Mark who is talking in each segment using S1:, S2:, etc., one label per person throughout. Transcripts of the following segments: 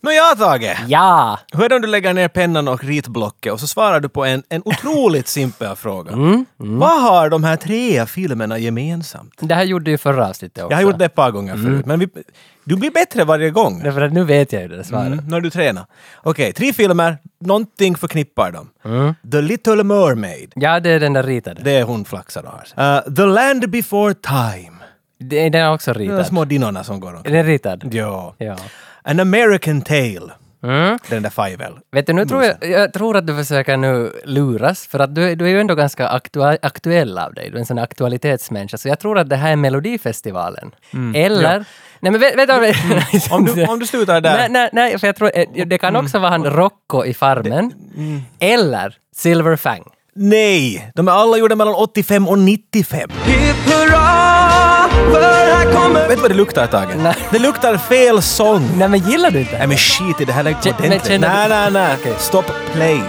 S1: Nåja, Tage.
S2: Ja!
S1: Hur är det om du lägger ner pennan och ritblocket och så svarar du på en, en otroligt simpel fråga.
S2: Mm,
S1: Vad har de här tre filmerna gemensamt?
S2: Det här gjorde ju förra avsnittet också.
S1: Jag har gjort det ett par gånger förut,
S2: Mm.
S1: men vi, du blir bättre varje gång.
S2: Därför att nu vet jag ju det svaret.
S1: Mm, när du tränar. Okej, tre filmer, någonting förknippar dem.
S2: Mm.
S1: The Little Mermaid,
S2: Ja, det är den där ritade.
S1: det är hon flaxar och har sig. Eh, The Land Before Time,
S2: Det är den är också
S1: de där
S2: ritad.
S1: små dinnorna som går
S2: Är
S1: omkring.
S2: den ritad?
S1: Ja.
S2: Ja.
S1: An American Tale,
S2: Mm.
S1: den där Fivel.
S2: Vet du, nu tror jag, jag tror att du försöker nu luras, för att du, du är ju ändå ganska aktua- aktuell av dig. Du är en sån aktualitetsmänniska, så jag tror att det här är Melodifestivalen. Eller... Nej men vä- vänta! vänta.
S1: Om du- om du slutar där.
S2: Nej, nej, nej, för jag tror, eh, det kan också vara han Rocco i Farmen. Eller Silver Fang.
S1: Nej, de är alla gjorda mellan 85 och 95. Vet du vad det luktar, Tage?
S2: Nej.
S1: Det luktar fel sång.
S2: Nej men gillar du inte?
S1: Nej men skit i det här, lägg på
S2: Kä- men
S1: ordentligt. Nej,
S2: känner du-
S1: nej, nej.
S2: Okej.
S1: Stopp, play.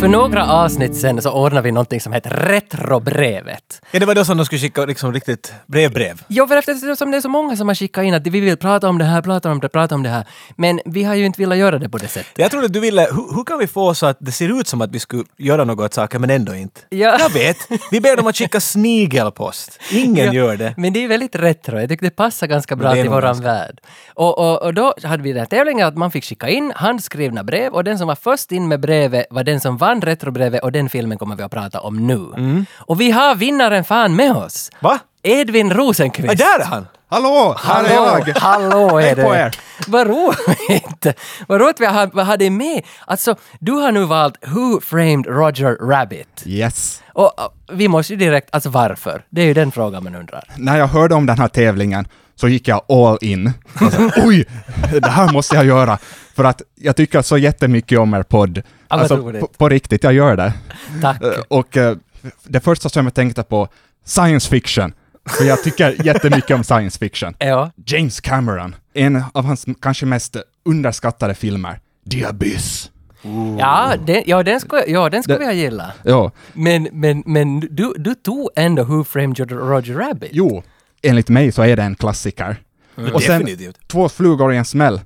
S2: För några avsnitt sen så ordnar vi någonting som heter Retrobrevet.
S1: Ja, det var då som de skulle skicka liksom riktigt brev-brev.
S2: Jo, för eftersom det är så många som har skickat in att vi vill prata om det här, prata om det, prata om det här. Men vi har ju inte velat göra det på det sättet.
S1: Jag trodde du ville, hur, hur kan vi få så att det ser ut som att vi skulle göra något åt saker men ändå inte?
S2: Ja.
S1: Jag vet! Vi ber dem att skicka snigelpost. Ingen gör det.
S2: Men det är väldigt retro, jag tycker det passar ganska bra
S1: Det är
S2: till
S1: nog
S2: våran
S1: ganska.
S2: värld. Och, och, och då hade vi den här tävlingen att man fick skicka in handskrivna brev och den som var först in med brevet var den som vann retrobrevet och den filmen kommer vi att prata om nu. Och vi har vinnaren fan med oss!
S1: Mm. Va?
S2: Edvin Rosenqvist!
S1: Ah, där är han!
S3: Hallå, här är jag!
S2: Hallå är
S3: Hej
S2: du!
S3: på er.
S2: Vad roligt! Vad roligt vi har, vi har dig med! Alltså, du har nu valt Who Framed Roger Rabbit?
S3: Yes.
S2: Och och, vi måste ju direkt, alltså varför? Det är ju den frågan man undrar.
S3: När jag hörde om den här tävlingen så gick jag all in. Jag sa, Oj, det här måste jag göra. För att jag tycker så jättemycket om er podd.
S2: vad
S3: Alltså,
S2: roligt.
S3: på, på riktigt, jag gör det.
S2: Tack!
S3: Eh, Och eh, det första som jag tänkte på, science fiction. För jag tycker jättemycket om science fiction.
S2: Ja.
S3: James Cameron, en av hans kanske mest underskattade filmer, The Abyss.
S2: Ja, den, ja, den skulle ja, den skulle
S3: Det-
S2: jag gilla.
S3: Ja,
S2: Men, men, men du, du tog ändå Who Framed Roger- Roger Rabbit?
S3: jo, enligt mig så är det en klassiker. Och sen
S1: Definitivt.
S3: två flugor i en smäll.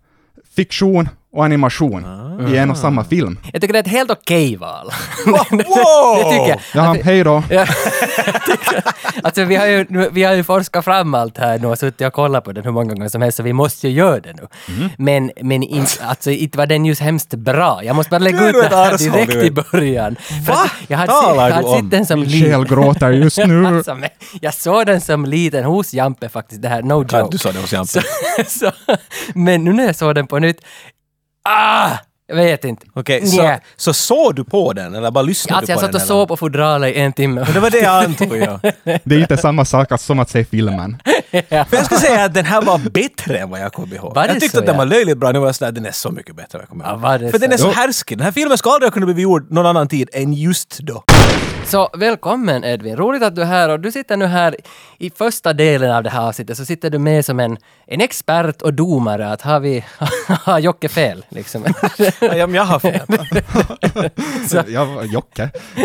S3: Fiktion och animation i en och samma film.
S2: Jag tycker det är ett helt okej val.
S1: wow!
S2: det tycker jag.
S3: Ja, hej då.
S2: Ja, Alltså, jag tycker- alltså vi har, ju, vi har ju forskat fram allt här nu och suttit och kollat på den hur många gånger som helst, så vi måste ju göra det nu.
S1: Mm.
S2: Men, men in, alltså, inte var den just hemskt bra. Jag måste bara lägga
S1: Du är
S2: ut
S1: ett
S2: det här
S1: arshåll,
S2: direkt
S1: du.
S2: i början. För
S1: Va?
S2: att Jag hade,
S1: Talar
S2: sett-
S1: du
S2: jag hade
S1: om?
S2: sett den som
S3: Min
S2: liten.
S3: själ gråter just nu.
S2: Alltså, men jag såg den som liten hos Jampe faktiskt, det här No joke.
S1: du sa det hos Jampe.
S2: Så, så, men nu när jag såg den på nytt, ah! Jag vet inte.
S1: Okej,
S2: Nja.
S1: så, så såg du på den eller bara lyssnade
S2: Alltså
S1: du
S2: jag
S1: på
S2: satt
S1: den?
S2: och
S1: eller?
S2: såg på fodralet i en timme.
S1: Det var det jag antog, ja.
S3: Det är inte samma sak som att se filmen.
S1: För jag skulle säga att den här var bättre än vad jag kom ihåg.
S2: Var det
S1: jag tyckte
S2: så,
S1: att den
S2: ja?
S1: var löjligt bra, nu var jag sådär, den är så mycket bättre än vad jag kommer
S2: Ja,
S1: ihåg.
S2: var det
S1: För den är
S2: så?
S1: så härskig. Den här filmen skulle aldrig ha kunnat bli gjord någon annan tid än just då.
S2: Så välkommen Edvin, roligt att du är här och du sitter nu här i första delen av det här avsnittet så sitter du med som en, en expert och domare att har vi, har Jocke fel liksom?
S1: Ja, men jag har fel.
S2: Alltså.
S3: Ja, Jocke. Eh,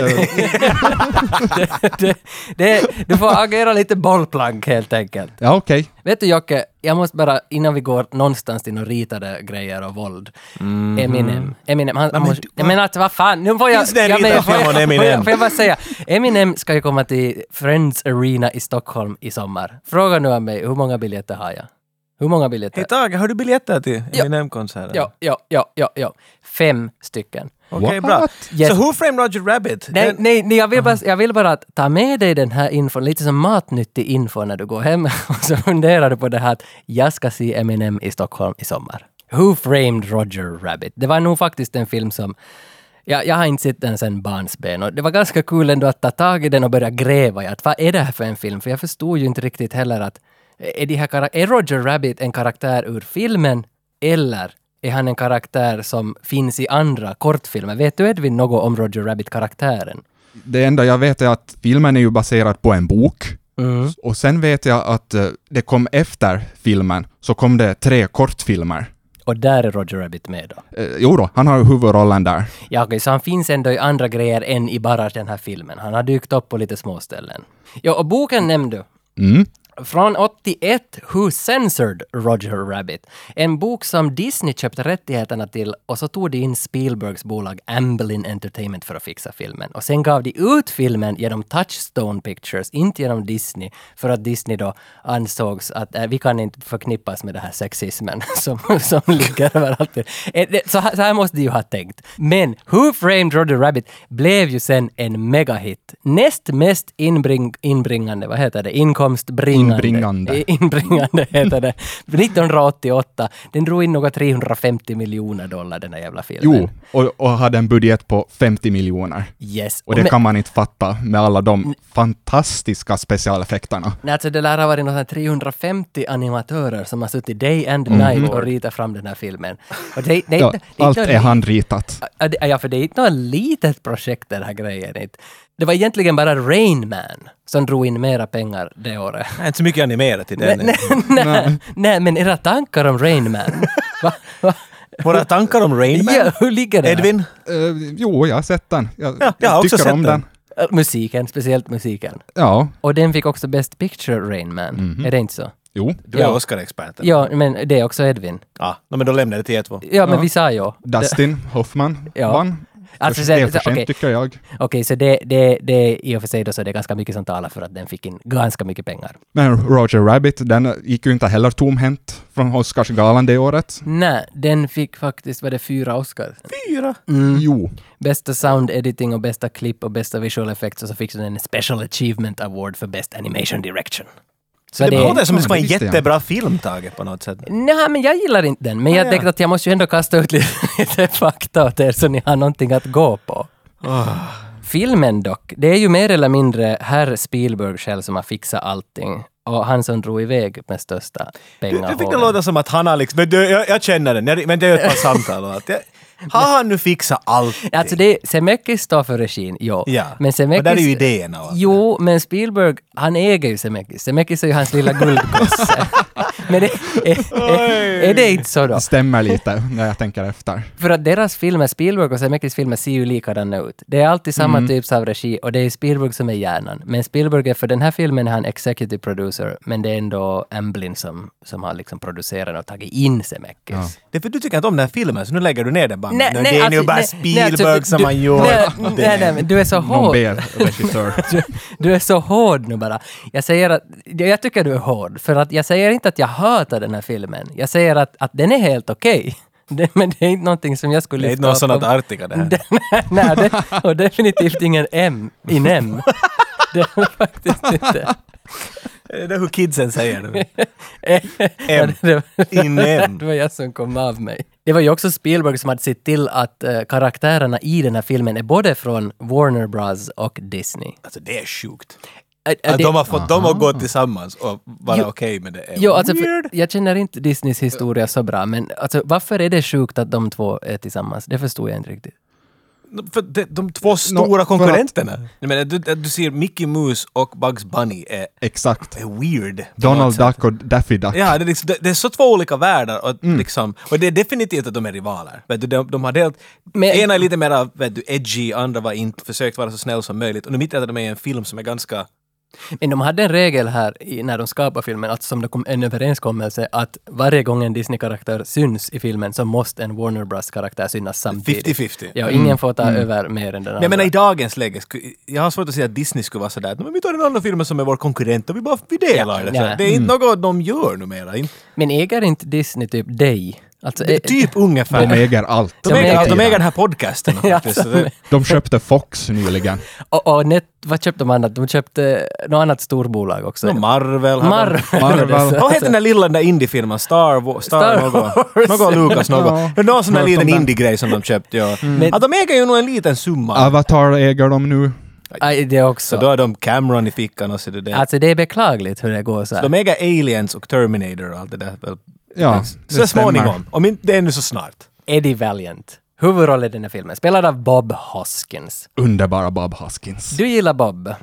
S2: det, det, du får agera lite bollplank helt enkelt.
S3: Ja, okej.
S2: Vet du Jocke, jag måste bara, innan vi går någonstans till några ritade grejer och våld.
S1: Mhm.
S2: Eminem. Eminem, han, han måste... Jag menar att vad fan, nu får jag...
S1: Finns det en
S2: jag
S1: ritad
S2: men- får
S1: film om
S2: jag- får jag-
S1: Eminem?
S2: Får jag bara säga, Eminem ska ju komma till Friends Arena i Stockholm i sommar. Fråga nu av mig, hur många biljetter har jag? Hur många biljetter?
S1: Hej Tage, har du biljetter till
S2: Ja.
S1: Eminem-konserten?
S2: Ja, ja, ja, ja, ja. Fem stycken.
S1: Okej, bra.
S3: What?
S2: Yes.
S1: Så Who Framed Roger Rabbit?
S2: Nej,
S1: Den-
S2: nej, nej jag, vill bara, jag vill bara att ta med dig den här infon, lite som matnyttig info när du går hem och så funderar du på det här att jag ska se Eminem i Stockholm i sommar. Who framed Roger Rabbit? Det var nog faktiskt en film som jag, jag har inte sett den sen barnsben och det var ganska kul ändå att ta tag i den och börja gräva i att vad är det här för en film? För jag förstod ju inte riktigt heller att är, de här, karak- är Roger Rabbit en karaktär ur filmen eller är han en karaktär som finns i andra kortfilmer? Vet du Edvin något om Roger Rabbit-karaktären?
S3: Det enda jag vet är att filmen är ju baserad på en bok. Och sen vet jag att eh, det kom efter filmen, så kom det tre kortfilmer.
S2: Och där är Roger Rabbit med då.
S3: Eh, jo då, han har huvudrollen där.
S2: Ja, okej, så han finns ändå i andra grejer än i bara den här filmen. Han har dykt upp på lite småställen. Ja, och boken nämnde du.
S3: Mm.
S2: Från 81, Who Censored Roger Rabbit? En bok som Disney köpte rättigheterna till och så tog de in Spielbergs bolag Amblin Entertainment för att fixa filmen. Och sen gav de ut filmen genom Touchstone Pictures, inte genom Disney, för att Disney då ansågs att äh, vi kan inte förknippas med den här sexismen som, som ligger överallt. Eh, det- Så här, så här måste de ju ha tänkt. Men Who Framed Roger Rabbit blev ju sen en megahit. Näst mest inbring, inbringande, vad heter det, inkomstbringande.
S3: Inbringande.
S2: Eh, Inbringande heter det. 1988. Den drog in några 350 miljoner dollar den här jävla filmen.
S3: Jo, och, och hade en budget på 50 miljoner.
S2: Yes.
S3: Och det
S2: Men-
S3: kan man inte fatta med alla de fantastiska specialeffekterna.
S2: Nej, alltså det lär ha varit någonstans 350 animatörer som har suttit day and night och ritat fram den här filmen. Och det, det, är
S3: Mhm. Ja,
S2: inte- det,
S3: allt
S2: inte-
S3: är handritat.
S2: Ja, det- Ja, för det är inte något litet projekt den här grejen. inte. Det var egentligen bara Rain Man som drog in mera pengar det året.
S1: Nej, inte så mycket animerat i den.
S2: Nej, nej, nej, men era tankar om Rain Man? Va? Va?
S1: Våra tankar om Rain Man?
S2: Ja, hur ligger det?
S1: Edvin?
S3: Eh, jo, jag har sett den. Jag,
S1: Ja, jag har också
S3: tycker
S1: sett
S3: om
S1: den.
S3: den.
S2: Äh, Musiken, speciellt musiken.
S3: Ja,
S2: Och den fick också Best Picture, Rain Man.
S1: Mhm.
S2: Är det inte så?
S3: jo.
S1: Du är
S2: Ja.
S1: Oscar-experten.
S2: Ja, men det är också Edvin.
S1: Ja, no, men då lämnar jag det till er två.
S2: Ja, men vi sa ju.
S3: Dustin Hoffman
S2: Ja.
S3: vann.
S2: Alltså,
S3: det är
S2: så-
S3: för
S2: så-
S3: sent
S2: okej.
S3: tycker jag.
S2: Okej, så det, det, det i och för sig då så är det ganska mycket som talar för att den fick in ganska mycket pengar.
S3: Men Roger Rabbit, den gick ju inte heller tomhänt från Oscarsgalan det året.
S2: Nej, den fick faktiskt, var det fyra Oscars?
S1: Fyra.
S3: Jo.
S2: Bästa sound editing och bästa klipp och bästa visual effects och så fick den en Special Achievement Award för Best Animation Direction. Så
S1: Det låter som
S3: Ja,
S1: det skulle vara en
S3: det visste jag.
S1: jättebra film, Tage, på något sätt.
S2: Nej, men jag gillar inte den, men jag
S1: Ah, ja.
S2: tänkte att jag måste ju ändå kasta ut lite, lite fakta åt er så ni har någonting att gå på.
S1: Ah.
S2: Filmen dock, det är ju mer eller mindre herr Spielberg själv som har fixat allting och han som drog iväg med största
S1: Du fick det
S2: pengahålen.
S1: låta som att han har liksom... Men du, jag, jag känner den, jag, men det är ju ett par samtal och allt. Jag, har han nu fixat allt?
S2: Alltså det, Zemeckis står för regin, jo.
S1: Ja.
S2: Men Zemeckis...
S1: Och där är ju idéerna och allt.
S2: Jo, men Spielberg, han äger ju Zemeckis. Zemeckis är ju hans lilla guldgosse. men det, är, är, är det inte så då?
S3: Det stämmer lite när jag tänker efter.
S2: För att deras filmer, Spielberg och Zemeckis filmer, ser ju likadana ut. Det är alltid samma
S1: Mm.
S2: typs av regi och det är Spielberg som är hjärnan. Men Spielberg är, för den här filmen är han executive producer, men det är ändå Amblin som, som har liksom producerat och tagit in Zemeckis.
S1: Det är för du tycker inte om den här filmen, så nu lägger du ner den bara.
S2: Nej,
S1: men
S2: nej,
S1: det är
S2: alltså,
S1: ju bara
S2: nej,
S1: Spielberg
S2: nej, alltså,
S1: som
S2: du-
S1: han gör.
S2: Nej, nej, nej, men du är så
S3: Någon
S2: hård.
S3: B-regissör.
S2: Du, du är så hård nu bara. Jag säger att, jag tycker du är hård, för att jag säger inte att jag hatar den här filmen. Jag säger att, att den är helt okej. Det- Men det är inte någonting som jag skulle
S1: Det är inte
S2: lyfta
S1: någon
S2: upp
S1: sån att
S2: om-
S1: Artica det här.
S2: Det- Nej, det, och definitivt ingen M i NEM. Det är det faktiskt inte.
S1: Det är hur kidsen säger det.
S2: Ja, det- det var-
S1: Inem.
S2: Det var jag som kom av mig. Det var ju också Spielberg som hade sett till att eh, karaktärerna i den här filmen är både från Warner Bros och Disney.
S1: Alltså det är sjukt.
S2: Eh, eh,
S1: Att
S2: det-
S1: de har fått dem att gå tillsammans och vara okej med det. är
S2: Jo, alltså, för,
S1: weird.
S2: jag känner inte Disneys historia så bra, men alltså, varför är det sjukt att de två är tillsammans? Det förstod jag inte riktigt.
S1: För de, de två stora
S3: att-
S1: konkurrenterna. Jag menar, du, du ser Mickey Moose och Bugs Bunny är,
S3: Exakt.
S1: är weird. på något
S3: Donald
S1: sätt.
S3: Duck och Daffy Duck.
S1: Ja, det är, liksom, det, det är så två olika världar och, liksom, och det är definitivt att de är rivaler. Vet du, de, de har delat,
S2: Men-
S1: ena är lite mer vet du, edgy, andra var inte försökt vara så snäll som möjligt. Och nu mitt i att de är i en film som är ganska...
S2: Men de hade en regel här i, när de skapade filmen, alltså som det kom en överenskommelse att varje gång en Disney-karaktär syns i filmen så måste en Warner Bros-karaktär synas samtidigt.
S1: 50-50.
S2: Ja, ingen får ta över mer
S1: Mm.
S2: än den
S1: Men jag
S2: andra.
S1: menar i dagens läge, sku- jag har svårt att se att Disney skulle vara sådär att men vi tar den andra filmen som är vår konkurrent och vi bara vi delar det. Så
S2: ja.
S1: Det är inte något de gör numera. In-
S2: Men äger inte Disney typ dig? Alltså, eh,
S1: Typ ungefär.
S3: De äger allt.
S1: De
S2: De
S1: äger,
S2: äger-
S1: de äger den här podcasten
S2: Ja,
S1: faktiskt. Så det-
S3: De köpte Fox nyligen.
S2: eh, och, och net, vad köpte de annat? De köpte något annat storbolag också.
S1: och Marvel. har de-
S2: Marvel.
S3: Marvel.
S1: Vad heter den där lilla den där indiefilmen? Star, Wa- Star,
S2: Star Wars.
S1: något, något Lucas något.
S3: Ja. Mm.
S1: Någon sån där
S3: Hört om
S1: liten
S3: den.
S1: indie-grej som de köpte. Ja.
S2: Men-
S1: Ja, de äger ju nog en liten summa.
S3: Avatar äger de nu.
S2: Aj, det också.
S1: Så då har de Cameron i fickan och så är det det.
S2: Alltså det är beklagligt hur det går så här.
S1: De äger Aliens och Terminator och allt det där. väl,
S3: Ja, det
S1: Så
S3: stämmer.
S1: småningom. Om inte det är nu så snart.
S2: Eddie Valiant. Huvudroll i den här filmen, spelad av Bob Hoskins.
S3: Underbara Bob Hoskins.
S2: Du gillar Bob.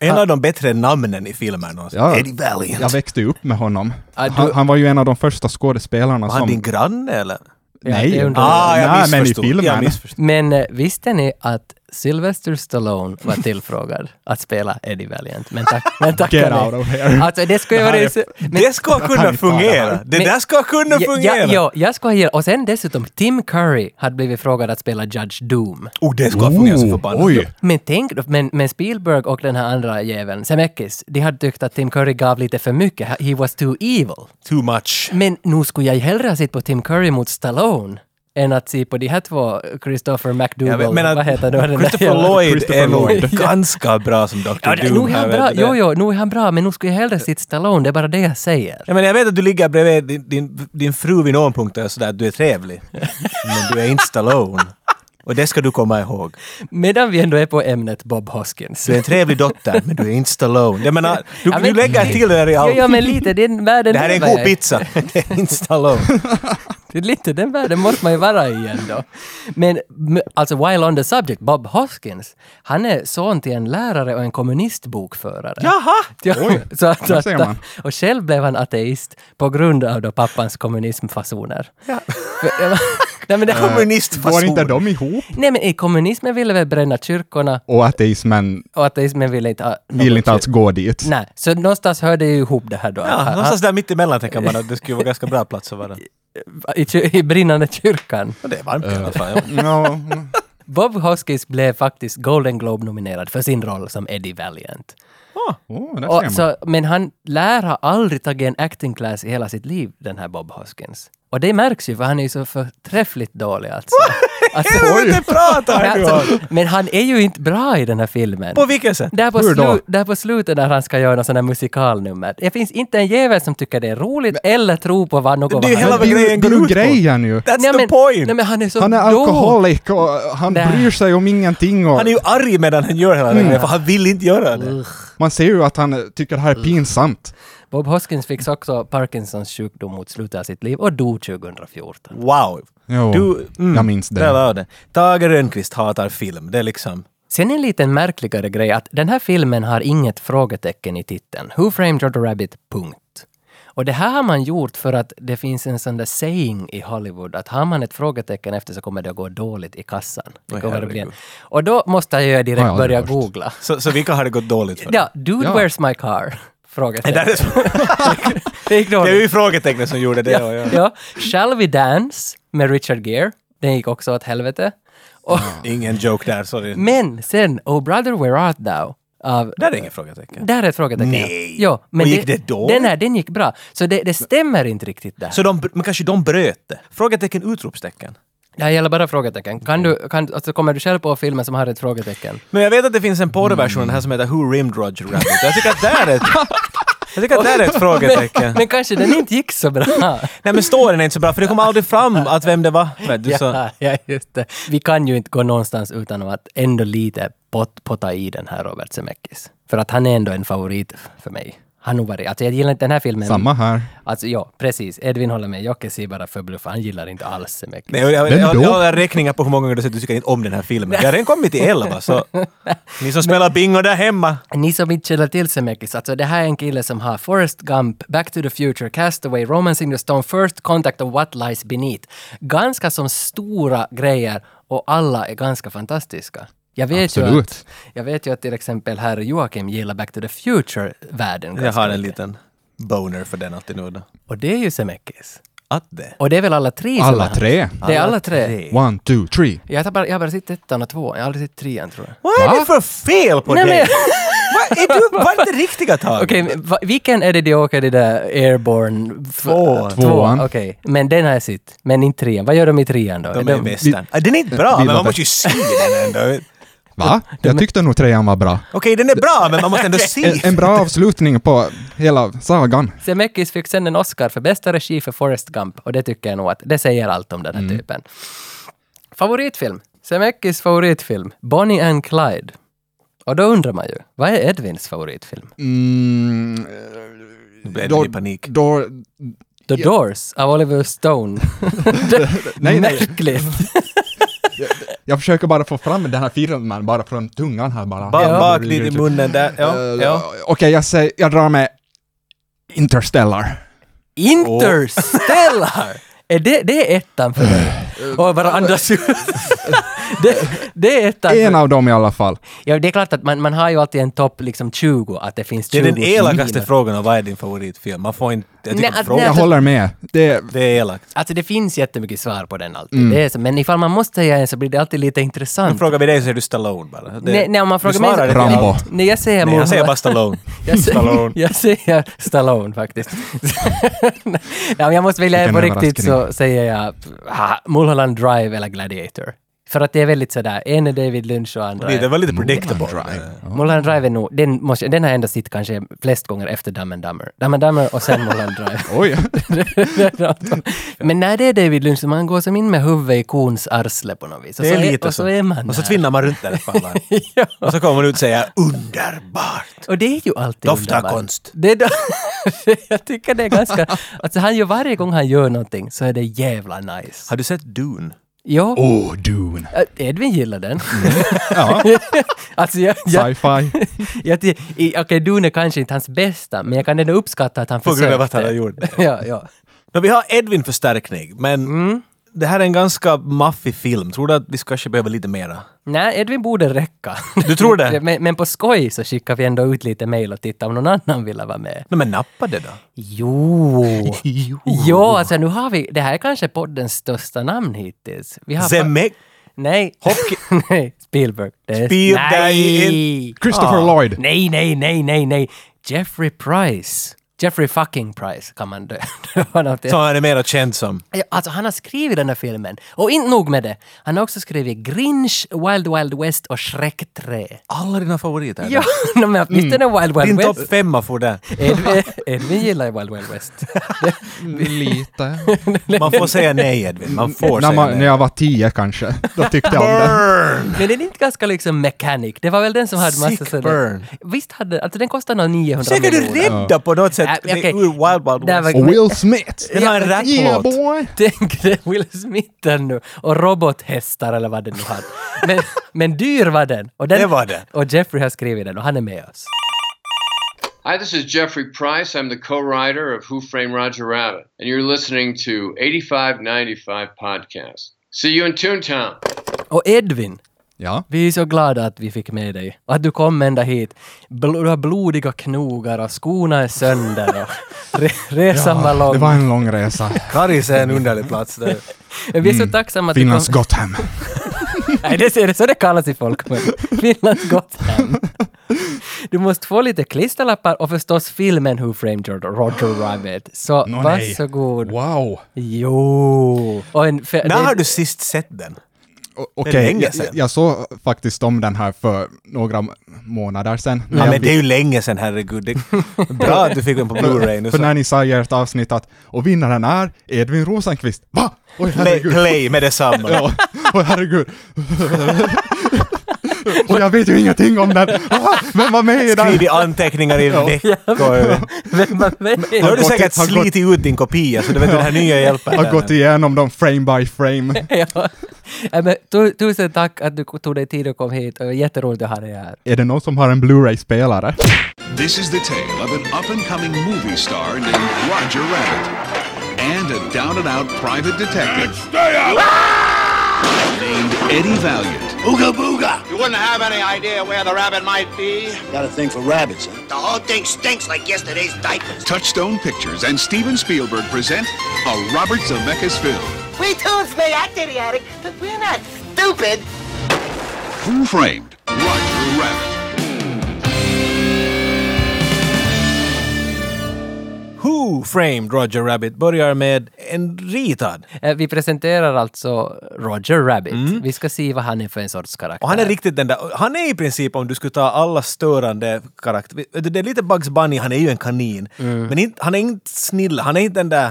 S1: En av de bättre namnen i filmen någonsin.
S3: Ja.
S1: Eddie Valiant.
S3: Jag växte upp med honom.
S2: Ah, du-
S3: Han, han var ju en av de första skådespelarna
S1: Var han
S3: som...
S1: din granne eller?
S2: det
S3: Nej,
S2: är under-
S1: Ah, jag
S3: nej men i
S1: missförstod. Jag
S3: filmen.
S1: missförstod.
S2: Men eh, visste ni att Sylvester Stallone var tillfrågad att spela Eddie Valiant? Men, tack, men tackade
S3: Get
S2: nej.
S3: out of here.
S2: Alltså det skulle ju
S3: Det här
S2: vara...
S3: är-
S2: så- Men,
S1: Det ska kunna
S3: kan vi ta
S1: fungera. Det
S2: Men-
S1: där ska kunna
S2: ja, ja,
S1: fungera.
S2: ja, jag ska ge... Och sen dessutom, Tim Curry hade blivit frågad att spela Judge Doom.
S1: Oh, det ska fungera så
S3: Oh,
S1: förbannat.
S3: oj!
S2: Men tänk då, men, men Spielberg och den här andra jäveln, Zemeckis, de hade tyckt att Tim Curry gav lite för mycket. He was too evil.
S1: Too much.
S2: Men nu skulle jag hellre ha sett på Tim Curry mot Stallone än att se på de här två, Christopher McDougall,
S1: Jag menar,
S2: vad heter då den där
S1: Christopher
S2: jävla-
S1: Lloyd
S3: Christopher
S1: är nog
S2: Lloyd.
S1: ganska bra som Dr.
S2: Ja, det-
S1: Doom.
S2: nu är
S1: här,
S2: han
S1: vet
S2: bra,
S1: du det.
S2: jo, jo, nu är han bra, men nu skulle jag hellre sett Stallone, det är bara det jag säger.
S1: Jag, menar, jag vet att du ligger bredvid din, din, din fru vid någon punkt och sådär att du är trevlig. Men du är inte Stallone. Och det ska du komma ihåg.
S2: Medan vi ändå är på ämnet Bob Hoskins.
S1: Du är en trevlig dotter, men du är inte Stallone. Jag menar, du,
S2: Ja, men-
S1: du lägger till det där i
S2: Ja,
S1: allt.
S2: ja, men lite, den världen
S1: det här är en
S2: lever
S1: god
S2: jag i.
S1: pizza. Det är inte Stallone.
S2: Det är lite den världen måste man ju vara i ändå. Men m- alltså, while on the subject, Bob Hoskins, han är son till en lärare och en kommunistbokförare.
S1: Jaha!
S2: Ja, så att,
S3: där ser
S2: att,
S3: man.
S2: och själv blev han ateist på grund av då pappans kommunismfasoner.
S1: Ja.
S2: nej, men det,
S1: Kommunistfason.
S3: Går inte de ihop?
S2: nej men i kommunismen ville väl bränna kyrkorna
S3: Och ateismen
S2: och ateismen ville inte ha...
S3: vill
S2: någon
S3: inte alls
S2: kyr-
S3: gå dit.
S2: Nej, så någonstans hörde ju ihop det här då. Ah,
S1: Ja,
S2: Han- han-
S1: någonstans där mitt emellan tänker man att det skulle vara ganska bra plats att vara.
S2: i, kyr- I brinnande kyrkan.
S1: Och det är varmt i alla fall. ja.
S3: Ja,
S2: Bob Hoskins blev faktiskt Golden Globe-nominerad för sin roll som Eddie Valiant.
S3: oh,
S2: Och
S3: där ser man.
S2: så, men han lär ha aldrig tagit en acting class i hela sitt liv, den här Bob Hoskins. Och det märks ju, för han är ju så förträffligt dålig alltså. alltså
S1: Helvete pratar du om!
S2: alltså, men han är ju inte bra i den här filmen.
S1: På vilket sätt?
S2: Där på,
S3: Hur då?
S2: slu- där på slutet när han ska göra någon sån här musikalnummer. Det finns inte en jävel som tycker det är roligt eller tror på vad något
S1: Det är ju
S2: vad
S1: hela
S2: han-
S3: Det är ju-
S1: grejen
S3: det är
S1: går
S3: ju
S1: ut på.
S3: grejen ju.
S1: That's
S2: Nej,
S1: the
S2: men-
S1: point!
S2: Nej men han är så
S3: Han är
S2: dålig.
S3: alkoholik och han
S2: Nej.
S3: bryr sig om ingenting. Och
S1: han är ju arg medan han gör hela den grejen, för han vill inte göra det.
S3: Man ser ju att han tycker det här är pinsamt.
S2: Bob Hoskins fick också Parkinsons sjukdom mot slutet av sitt liv och dog 2014.
S1: Wow!
S3: Jo,
S1: Du, mm,
S3: jag minns
S1: Där
S3: det.
S1: var det. Tage Rönnqvist hatar film. Det är liksom...
S2: Sen en liten märkligare grej att den här filmen har inget frågetecken i titeln. Who framed Roger Rabbit? Punkt. Och det här har man gjort för att det finns en sån där saying i Hollywood att har man ett frågetecken efter så kommer det att gå dåligt i kassan. Det
S1: Oj,
S2: kommer att
S1: herregud.
S2: bli en. Och då måste jag ju direkt
S3: Ja, ja, det är
S2: börja
S3: först.
S2: googla.
S1: Så, så vilka har det gått dåligt för?
S2: Ja, dude
S3: Ja.
S2: where's my car?
S1: Det, där
S2: Frågetecken.
S1: är, så-
S2: Det gick
S1: det är
S2: dåligt.
S1: ju frågetecknet som gjorde det. Och
S2: Ja,
S1: jag.
S2: ja. Shall we dance? Med Richard Gere. Den gick också åt helvete. Och,
S1: Ingen joke där, sorry.
S2: men sen, Oh brother where art thou? Av
S1: Där är inget frågetecken.
S2: Där är ett frågetecken.
S1: Nej.
S2: Ja, men
S1: Och gick det dåligt?
S2: Den här, den gick bra. Så det, det stämmer inte riktigt där.
S1: Så de, men kanske de bröt det? Frågetecken, utropstecken.
S2: Det här gäller bara frågetecken. Kan du, kan, alltså, kommer du själv på filmen som har ett frågetecken?
S1: Men jag vet att det finns en porrversion av
S3: Mm.
S1: den här som heter Who Rimmed Roger Rabbit. Jag tycker att där är ett, jag tycker att där är ett frågetecken.
S2: Men kanske den inte gick så bra.
S1: Nej men storyn är inte så bra för det kom aldrig fram att vem det var. Vet du, så.
S2: Ja, ja, just det. Vi kan ju inte gå någonstans utan att ändå lite pot, potta i den här Robert Zemeckis. För att han är ändå en favorit för mig. Han har nog varit, alltså jag gillar inte den här filmen.
S3: Samma här.
S2: Alltså ja, precis. Edvin håller med. Jocke ser bara förbluffad. Han gillar inte alls Zemeckis.
S1: Nej, jag, jag,
S3: Vem
S1: jag,
S3: då?
S1: jag har räkningar på hur många gånger du säger att du tycker inte om den här filmen. Vi har redan kommit till elva så ni som spelar bingo där hemma.
S2: Ni som inte känner till Zemeckis, alltså det här är en kille som har Forrest Gump, Back to the Future, Castaway, Romancing the Stone, First Contact och What Lies Beneath. Ganska som stora grejer och alla är ganska fantastiska. Jag vet, ju att,
S3: Absolut.
S2: jag vet ju att till exempel herr Joakim gillar Back to the Future-världen
S1: Jag
S2: ganska
S1: har en
S2: mycket.
S1: liten boner för den alltid nu då.
S2: Och det är ju Zemeckis.
S1: Att det.
S2: Och det är väl alla tre som
S3: Alla
S2: har-
S3: tre.
S2: Det är alla tre.
S3: One, two, three.
S2: Jag har bara, jag har bara sett ettan och tvåan, jag har aldrig sett trean tror jag.
S1: Vad är det för fel på
S2: Nej,
S1: dig?
S2: men-
S1: Vad är du, vad är det riktiga taget?
S2: Okej, men va- vilken är det de åker i där airborne? f-
S1: Tvåan.
S3: Tvåan.
S2: Okej, men den har jag sett. Men inte trean. Vad gör de i trean då?
S1: De är västern. Ah, Den är inte bra,
S3: Vi-
S1: men man måste ju se den ändå. Okej,
S3: Va? Jag tyckte nog trean var bra.
S1: den är bra, men man måste ändå se.
S3: En, en bra avslutning på hela sagan.
S2: Zemeckis fick sen en Oscar för bästa regi för Forrest Gump och det tycker jag nog att det säger allt om den här typen. Favoritfilm? Zemeckis favoritfilm, Bonnie and Clyde. Och då undrar man ju, vad är Edvins favoritfilm?
S3: Mm,
S1: Nu blev det
S3: då,
S1: i panik.
S3: då,
S2: The Doors av Oliver Stone.
S3: Nej, nej.
S2: Märkligt.
S3: Jag försöker bara få fram den här filmen bara från tungan här bara.
S1: Ba,
S2: Ja.
S1: Bak dit i munnen där. Ja,
S3: Eh,
S1: ja.
S3: Okej, jag, säger, jag drar med Interstellar.
S2: Interstellar! Är det, det är ettan för mig.
S1: Eh,
S2: Och bara andas ut. det, det är ettan.
S3: En av dem i alla fall.
S2: Ja, det är klart att man, man har ju alltid en topp liksom 20, att det finns
S1: Det
S2: 20
S1: är den elakaste
S2: filmer.
S1: frågan, vad är din favoritfilm? Man får inte... Jag
S2: Nej,
S1: tycker inte
S2: att-
S1: frågan...
S3: Jag håller med. Det,
S1: Det är elakt.
S2: Alltså det finns jättemycket svar på den alltid. Det är så, men ifall man måste säga en så blir det alltid lite intressant.
S1: Frågar vi dig så är du Stallone bara. Det,
S2: nej, nej, om man
S1: du
S2: frågar mig så...
S1: svarar inte
S3: Rambo.
S1: allt.
S2: Nej, jag säger
S1: Nej, jag
S2: Muhammad-
S1: säger bara Stallone.
S2: Jag säger,
S1: Stallone.
S2: jag säger Stallone faktiskt. Nej, om jag måste välja en på
S3: Vilken
S2: riktigt så säger jag ah, Mulholland Drive eller Gladiator. För att det är väldigt sådär, en är David Lynch och andra
S1: Det
S2: är...
S1: var lite predictable.
S2: Mulholland Drive är nog, den, måste, den har jag ändå sett kanske flest gånger efter Dumb and Dumber. Dumb and Dumber och sen Mulholland Drive.
S3: oj.
S2: Men när det är David Lynch så man går som in med huvudet i kons arsle på något vis. Och
S1: Det
S2: så
S1: är lite
S2: och så. är man
S1: Och så
S2: där.
S1: tvinnar man runt där ett par varv.
S2: Ja.
S1: Och så kommer man ut och säger underbart.
S2: Och det är ju alltid
S1: Doftar
S2: underbart.
S1: konst.
S2: Det är då, jag tycker det är ganska... Alltså han gör varje gång han gör någonting så är det jävla nice.
S1: Har du sett Dune?
S2: Jo,
S3: Åh, Dune.
S2: äh, Edvin gillar den.
S3: Ja,
S2: alltså jag... jag,
S3: sci-fi.
S2: jag ty- i- Okej, Dune är kanske inte hans bästa, men jag kan ändå uppskatta att han
S1: På
S2: försökte.
S1: grund av att han har gjort det.
S2: Ja, ja.
S1: Men vi har Edvin förstärkning, men
S2: Mm.
S1: det här är en ganska maffig film. Tror du att vi kanske behöver lite mera?
S2: Nej, Edvin borde räcka.
S1: Du tror det?
S2: men, men på skoj så skickar vi ändå ut lite mejl och tittar om någon annan vill vara med.
S1: Nej men nappa det då.
S2: Jo! Jo, alltså nu har vi... Det här är kanske poddens största namn hittills. Vi har
S1: Zemeck.
S2: Nej. nej. Spielberg. Det är...
S1: Spiel-
S2: nej. Ah.
S3: Christopher Lloyd.
S2: nej, nej, nej, nej, nej. Jeffrey Price. Jeffrey fucking Price kan man dö. Det var något-
S1: Som han är mera känd som.
S2: Alltså han har skrivit den här filmen. Och inte nog med det. Han har också skrivit Grinch, Wild Wild West och Shrek 3.
S1: Alla dina favoriter.
S2: Ja, men åtminstone Wild Wild
S1: Din
S2: West.
S1: topp femma får det.
S2: Edvin, Edvin gillar ju Wild Wild West.
S3: Lite.
S1: Man får säga nej Edvin, man får
S3: När,
S1: säga
S3: man, när
S1: nej.
S3: jag var tio kanske, då tyckte jag om det.
S2: Men den är inte ganska liksom mechanic. Det var väl den som hade massa
S1: Sick burn.
S2: Visst hade... Alltså den kostade nog 900
S1: Försöker du
S2: miljoner.
S1: rädda på något sätt?
S2: Ja,
S1: Det är
S2: Äh, okej.
S1: ur Wild Wild
S2: Där
S1: West.
S2: var-
S3: Och Will Smith.
S1: Den har en
S3: Yeah
S1: rapplåt.
S3: boy.
S2: Tänk dig Will Smith där nu och robothästar eller vad det nu hade. Men, men dyr var den. Och den.
S1: Det var det.
S2: Och Jeffrey har skrivit den och han är med oss.
S4: Hi, this is Jeffrey Price. I'm the co writer of Who Framed Roger Rabbit, and you're listening to 8595 Podcast. See you in Toontown.
S2: Och Edvin,
S3: Ja.
S2: vi är så glada att vi fick med dig och att du kom ända hit. Bl- du har blodiga knogar och skorna är sönder och re- resan var lång.
S3: Det var en lång resa.
S1: Karis är en underlig plats. Där.
S2: Men Vi är så tacksamma att du kom.
S3: Finlands Gotham.
S2: Nej, det är det så det kallas i folkmun. Finlands Gotham. Du måste få lite klisterlappar och förstås filmen Who Framed Roger Rabbit. Så
S3: Nå, nej.
S2: varsågod.
S3: Wow.
S2: Jo! Och en fe-
S1: När
S2: det-
S1: har du sist sett den?
S3: O-
S1: Det är
S3: Okej,
S1: länge
S3: jag-
S1: sedan.
S3: jag, jag såg faktiskt om den här för några m- månader sedan. När
S1: Ja,
S3: jag
S1: men det
S3: fick-
S1: är ju länge sedan, herregud. Det bra att du fick den på Blu-ray nu.
S3: för
S1: Så.
S3: när ni sa i ert avsnitt att och vinnaren är Edvin Rosenqvist. Va? Oj
S1: Play,
S3: herregud.
S1: play med detsamma.
S3: Ja, oj herregud. och jag vet ju ingenting om den. Ah, Vem var med i den?
S1: Skriv i anteckningar i veckor.
S2: Vem man vet.
S1: Nu har du
S3: gått-
S1: säkert
S3: har gått-
S1: slitit ut din kopia, så du vet den här nya hjälper.
S3: Har gått igenom dem frame by frame.
S2: ja. Nej, men tu- tusen tack att du tog dig tid och kom hit. Och jätteroligt att ha dig här.
S3: Är det någon som har en Blu-ray-spelare?
S5: This is the tale of an up and coming movie star named Roger Rabbit and a down and out private detective. Named Eddie Valiant. Ooga booga!
S6: You wouldn't have any idea where the rabbit might be.
S7: Got a thing for rabbits, huh? The whole thing stinks like yesterday's diapers.
S5: Touchstone Pictures and Steven Spielberg present a Robert Zemeckis film.
S8: We toons may act idiotic, but we're not stupid.
S5: Who framed Roger Rabbit?
S1: Who framed Roger Rabbit börjar med en ritad.
S2: Eh, Vi presenterar alltså Roger Rabbit. Vi ska se vad han är för en sorts karaktär.
S1: Mm. Och han är riktigt den där, han är i princip om du skulle ta alla störande karaktärer, det är lite Bugs Bunny, han är ju en kanin. Men inte, han är inte snille, han är inte den där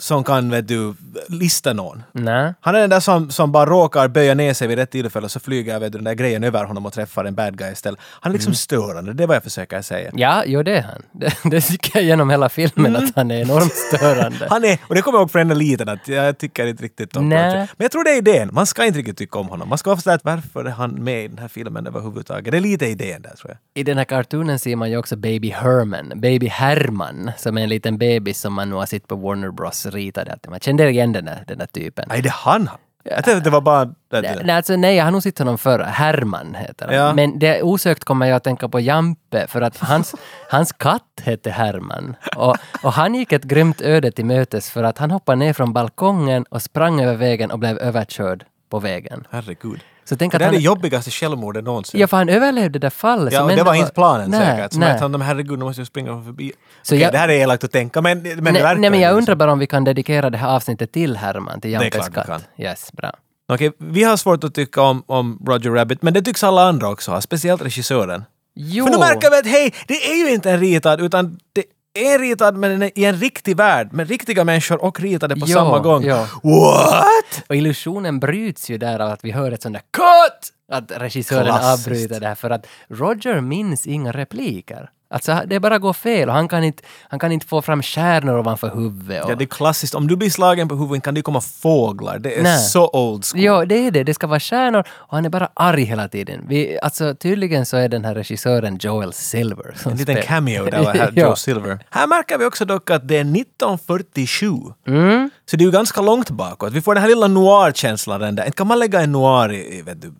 S1: som kan, vet du, lista någon.
S2: Nej.
S1: Han är den där som, som bara råkar böja ner sig vid rätt tillfälle och så flyger vet du, den där grejen över honom och träffar en bad guy istället. Han är liksom störande, det är vad jag försöker säga.
S2: Ja, jo det är han. Det, det tycker jag genom hela filmen
S1: Mm.
S2: att han är enormt störande.
S1: Han är, och det kommer jag ihåg från när jag var liten, att jag tycker inte riktigt om
S2: Nej.
S1: Roger. Men jag tror det är idén, man ska inte riktigt tycka om honom. Man ska vara sådär att varför är han med i den här filmen överhuvudtaget? Det är lite idén där tror jag.
S2: I den här kartonen ser man ju också Baby Herman, Baby Herman, som är en liten bebis som man nu har sett på Warner Bros ritade. Att Man kände igen den där, den där typen.
S1: Nej, det är han! Jag tänkte att det var bara... Det,
S2: Nej, nej, alltså, nej, jag har nog sett honom förr. Herman heter han.
S1: Ja.
S2: Men det, osökt kommer jag att tänka på Jampe, för att hans, hans katt hette Herman. Och, och han gick ett grymt öde till mötes för att han hoppade ner från balkongen och sprang över vägen och blev överkörd på vägen.
S1: Herregud.
S2: Så tänk
S1: Det
S2: att
S1: där är
S2: han...
S1: det jobbigaste självmordet någonsin.
S2: Ja, för han överlevde det fallet.
S1: Ja,
S2: som
S1: och det
S2: ändå
S1: var inte planen
S2: Nej,
S1: säkert. Som
S2: nej.
S1: att han, de herregud, nu måste jag springa förbi.
S2: Så
S1: Okej,
S2: jag-
S1: det här är elakt att tänka, men, men det
S2: nej,
S1: verkar
S2: nej, men
S1: ju
S2: jag
S1: så.
S2: undrar bara om vi kan dedikera det här avsnittet till Herman, till
S1: är
S2: Jampes
S1: klart vi
S2: katt. Yes, bra.
S1: Okej, vi har svårt att tycka om, om Roger Rabbit, men det tycks alla andra också ha, speciellt regissören.
S2: Jo.
S1: För nu märker vi att hej, det är ju inte en ritad, utan det är ritad men den är i en riktig värld, med riktiga människor och ritade på
S2: Jo,
S1: samma gång.
S2: jo.
S1: What?
S2: Och illusionen bryts ju där av att vi hör ett sånt där cut! Att regissören
S1: Klassiskt.
S2: avbryter det här för att Roger minns inga repliker. Alltså det bara går fel och han kan inte, han kan inte få fram stjärnor ovanför huvudet. Och...
S1: Ja, det är klassiskt. Om du blir slagen på huvudet kan det ju komma fåglar. Det är
S2: Nej.
S1: så old school.
S2: Ja, det är det. Det ska vara stjärnor och han är bara arg hela tiden. Vi, alltså tydligen så är den här regissören Joel Silver. Som
S1: En liten
S2: spelar-
S1: cameo där var här,
S2: Ja.
S1: Joe Silver. Här märker vi också dock att det är 1947.
S2: Mm.
S1: Så det är ju ganska långt bakåt. Vi får den här lilla noir-känslan. den där. Inte kan man lägga en noir i i, vet du,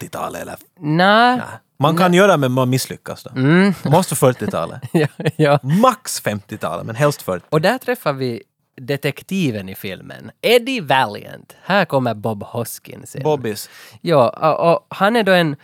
S1: 80-talet eller...
S2: Nej.
S1: Man
S2: Mm.
S1: kan göra men man misslyckas då. Måste 40-talet.
S2: Ja, ja.
S1: Max 50-talet, men helst 40.
S2: Och där träffar vi detektiven i filmen, Eddie Valiant. Här kommer Bob Hoskins in.
S1: Bobbys.
S2: Ja, och, och han är då en,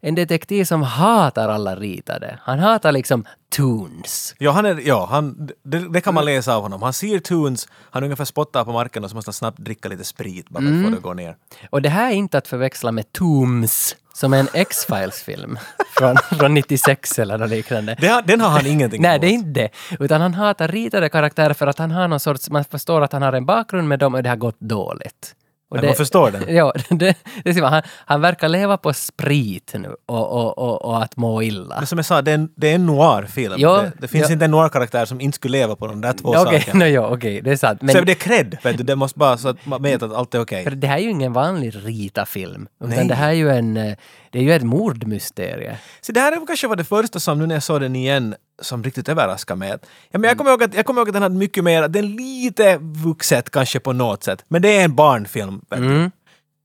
S2: en detektiv som hatar alla ritade. Han hatar liksom tunes.
S1: Ja, han är, ja han, det, det kan man läsa av honom. Han ser Tunes, han ungefär spottar på marken och så måste han snabbt dricka lite sprit bara för
S2: Mm.
S1: att få det att gå ner.
S2: Och det här är inte att förväxla med Tooms, som är en X-Files-film från, från 96 eller något liknande.
S1: Det, har- den har han ingenting
S2: Nej,
S1: emot.
S2: det är inte det. Utan han hatar ritade karaktärer för att han har någon sorts... Man förstår att han har en bakgrund med dem och det har gått dåligt. Och
S1: Men man förstår det.
S2: Ja, det, det ser man. Han, han verkar leva på sprit nu och, och, och, och att må illa.
S1: Men som jag sa, det är en, det är en noir-film.
S2: Ja,
S1: det, det finns
S2: ja.
S1: inte en noir-karaktär som inte skulle leva på de där två
S2: Okej,
S1: sakerna.
S2: nå, ja, okej, det är sant. Men
S1: Så det är cred, vet du. Det måste bara så att man vet att allt är okej.
S2: för det här är ju ingen vanlig rita-film. Utan
S1: Nej.
S2: det här är ju en... eh, Det är ju ett mordmysterie.
S1: Så det här kanske var det första som, nu när jag såg den igen, som riktigt överraskade mig. Ja, men jag, kommer ihåg att, jag kommer ihåg att den hade mycket mer, att den är lite vuxet kanske på något sätt, men det är en barnfilm. Vet du.
S2: Mm.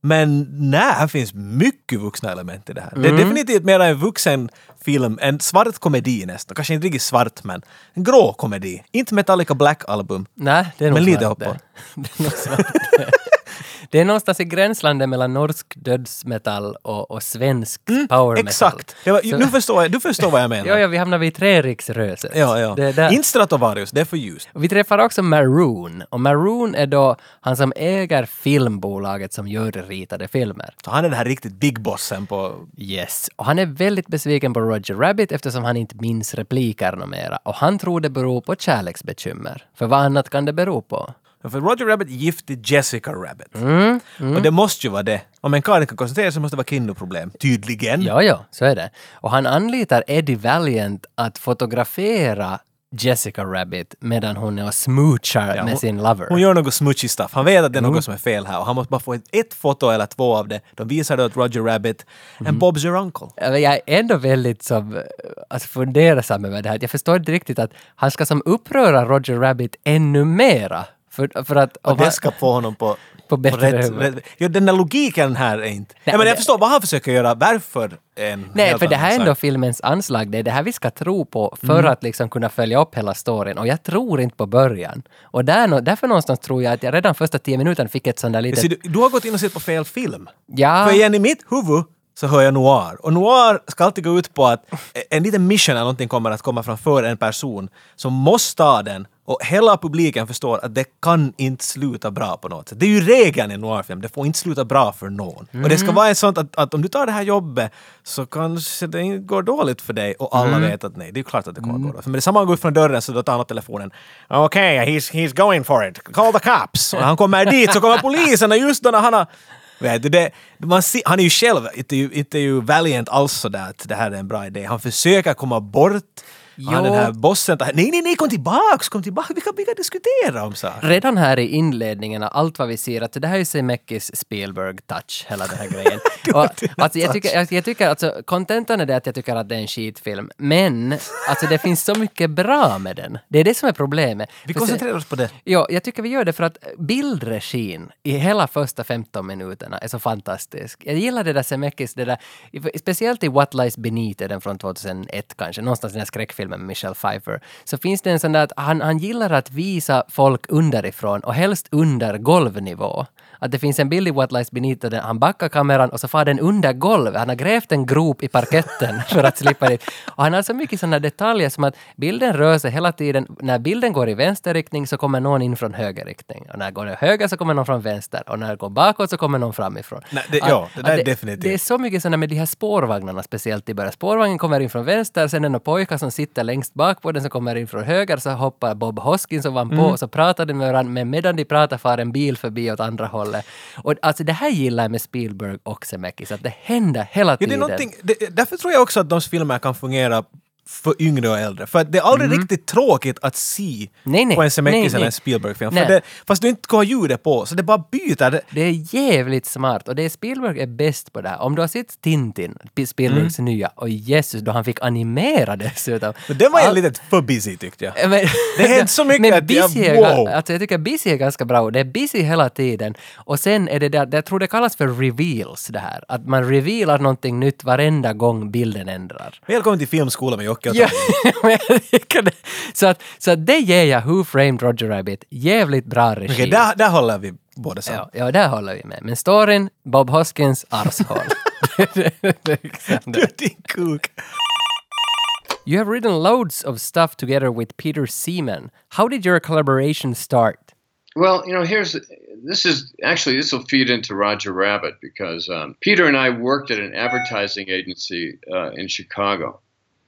S1: Men nej, här finns mycket vuxna element i det här.
S2: Mm.
S1: Det är definitivt mer en vuxen film, en svart komedi nästan. Kanske inte riktigt svart, men en grå komedi. Inte Metallica Black Album.
S2: Nej, det är nog
S1: Men lite
S2: svart
S1: hoppar.
S2: det. Det är nog svart det. Det är någonstans i gränslandet mellan norsk dödsmetall och, och svensk power metal.
S1: Mm, Exakt! Det var, nu förstår jag, du förstår vad jag menar.
S2: Ja, ja, vi hamnar vid Treriksröset.
S1: ja, ja.
S2: Det är där.
S1: Inte Stratovarius, det är för ljust.
S2: Och Vi träffar också Maroon, och Maroon är då han som äger filmbolaget som gör ritade filmer.
S1: Så han är den här riktigt big bossen på
S2: Yes, och han är väldigt besviken på Roger Rabbit eftersom han inte minns repliker något mera. Och han tror det beror på kärleksbekymmer. För vad annat kan det bero på?
S1: För Roger Rabbit är gift till Jessica Rabbit.
S2: Mm,
S1: Och det måste ju vara det. Om en karl kan koncentrera sig måste det vara kvinnoproblem. Tydligen.
S2: Ja, ja, så är det. Och han anlitar Eddie Valiant att fotografera Jessica Rabbit medan hon är och smoochar med sin lover.
S1: Hon gör något smutsig stuff. Han vet att det är
S2: Mm.
S1: något som är fel här och han måste bara få ett, ett foto eller två av det. De visar det åt Roger Rabbit. And
S2: Mm.
S1: Bob's your uncle.
S2: Eller Jag är ändå väldigt som, eh, alltså fundersam över det här. Jag förstår inte riktigt att han ska som uppröra Roger Rabbit ännu mera. För, för att...
S1: Och
S2: om han-
S1: det ska få honom på...
S2: På bättre
S1: rätt,
S2: humör.
S1: rätt, ja, Den där logiken här är inte...
S2: Nej,
S1: Nej, men
S2: det-
S1: jag förstår vad han försöker göra. Varför? är En
S2: Nej,
S1: helt
S2: för det här är
S1: annan
S2: ändå
S1: sak.
S2: filmens anslag. Det är det här vi ska tro på för
S1: Mm.
S2: att liksom kunna följa upp hela storyn. Och jag tror inte på början. Och där, nå- därför någonstans tror jag att jag redan första tio minuterna fick ett sånt där
S1: Jag ser,
S2: litet...
S1: du, du har gått in och sett på fel film.
S2: Ja.
S1: För igen, i mitt huvud så hör jag noir. Och noir ska alltid gå ut på att en liten mission eller någonting kommer att komma framför en person som måste ta den Och hela publiken förstår att det kan inte sluta bra på något sätt. Det är ju regeln i en noirfilm, det får inte sluta bra för någon. Och det ska vara en sånt att, att om du tar det här jobbet så kanske det inte går dåligt för dig och alla vet att nej, det är klart att det kommer gå dåligt. För med detsamma han går ut från dörren så då tar han upp telefonen. Okej, he's, he's going for it. Call the cops. Och han kommer dit så kommer polisen och just då när han har Vet du, det, man ser, han är ju själv inte, ju- inte ju valiant alls sådär att det här är en bra idé. Han försöker komma bort. Han
S2: Jo.
S1: den här bossen tar, nej, nej, nej, kom tillbaks, kom tillbaks, vi kan, vi kan diskutera om saker.
S2: Redan här i inledningen av allt vad vi ser, att det här är ju Zemeckis Spielberg-touch, hela den här grejen. och, alltså, jag tycker, jag, jag tycker alltså, kontentan är det att jag tycker att det är en skitfilm, men alltså det finns så mycket bra med den. Det är det som är problemet.
S1: Vi
S2: För se-
S1: koncentrerar oss på det.
S2: Ja, jag tycker vi gör det för att bildregin i hela första 15 minuterna är så fantastisk. Jag gillar det där Zemeckis, det där, speciellt i What Lies Beneath, är den från 2001 kanske, någonstans i den här skräckfilmen med Michelle Pfeiffer, så finns det en sån där att han, han gillar att visa folk underifrån och helst under golvnivå. Att det finns en bild i What Lies Beneath där han backar kameran och så far den under golvet. Han har grävt en grop i parketten för att slippa dit. Och han har så mycket sådana detaljer som att bilden rör sig hela tiden. När bilden går i vänster riktning så kommer någon in från höger riktning. Och när den går i höger så kommer någon från vänster. Och när den går bakåt så kommer någon framifrån.
S1: Nej, det- ja, det
S2: Att-
S1: där
S2: att
S1: är definitivt.
S2: Det är så mycket sådana med de här spårvagnarna speciellt i början. Spårvagnen kommer in från vänster, sen är det några pojkar som sitter längst bak på den som kommer in från höger, så hoppar Bob Hoskins ovanpå
S1: Mm.
S2: och så pratar de med varandra, men medan de pratar far en bil förbi åt andra hållet. Och alltså det här gillar jag med Spielberg och Zemeckis, att det händer hela
S1: Ja, det är
S2: tiden.
S1: någonting, det, därför tror jag också att de filmer kan fungera för yngre och äldre. För att det är aldrig riktigt tråkigt att se
S2: Mm. Nej, nej.
S1: på en Zemeckis
S2: Nej,
S1: eller
S2: nej.
S1: en Spielberg-film.
S2: Nej.
S1: För det, fast du inte kan ha ljudet på, så det bara byter. Det,
S2: Det är jävligt smart och det är Spielberg är bäst på det här. Om du har sett Tintin, P- Spielbergs nya, och Jesus då han fick animera dessutom.
S1: Mm. men det var ju
S2: All-
S1: lite för busy tyckte jag.
S2: Ja, Men,
S1: Det händer så mycket
S2: men
S1: att jag-
S2: Busy är,
S1: wow.
S2: alltså, jag tycker Busy är ganska bra. Det är Busy hela tiden. Och sen är det där, jag tror det kallas för reveals det här. Att man revealar någonting nytt varenda gång bilden ändrar.
S1: Välkommen till filmskolan med Jocke och
S2: Ja,
S1: Tommy.
S2: men jag tycker det- så, att, så att det ger jag Who Framed Roger Rabbit jävligt bra regi.
S1: Okej, där, alltså. där håller vi båda samman.
S2: ja, ja, där håller vi med. Men storyn, Bob Hoskins arshål.
S1: Dirty Cook.
S2: You have written loads of stuff together with Peter Seaman. How did your collaboration start?
S4: Well, you know, here's this is actually this will feed into Roger Rabbit because um, Peter and I worked at an advertising agency uh, in Chicago,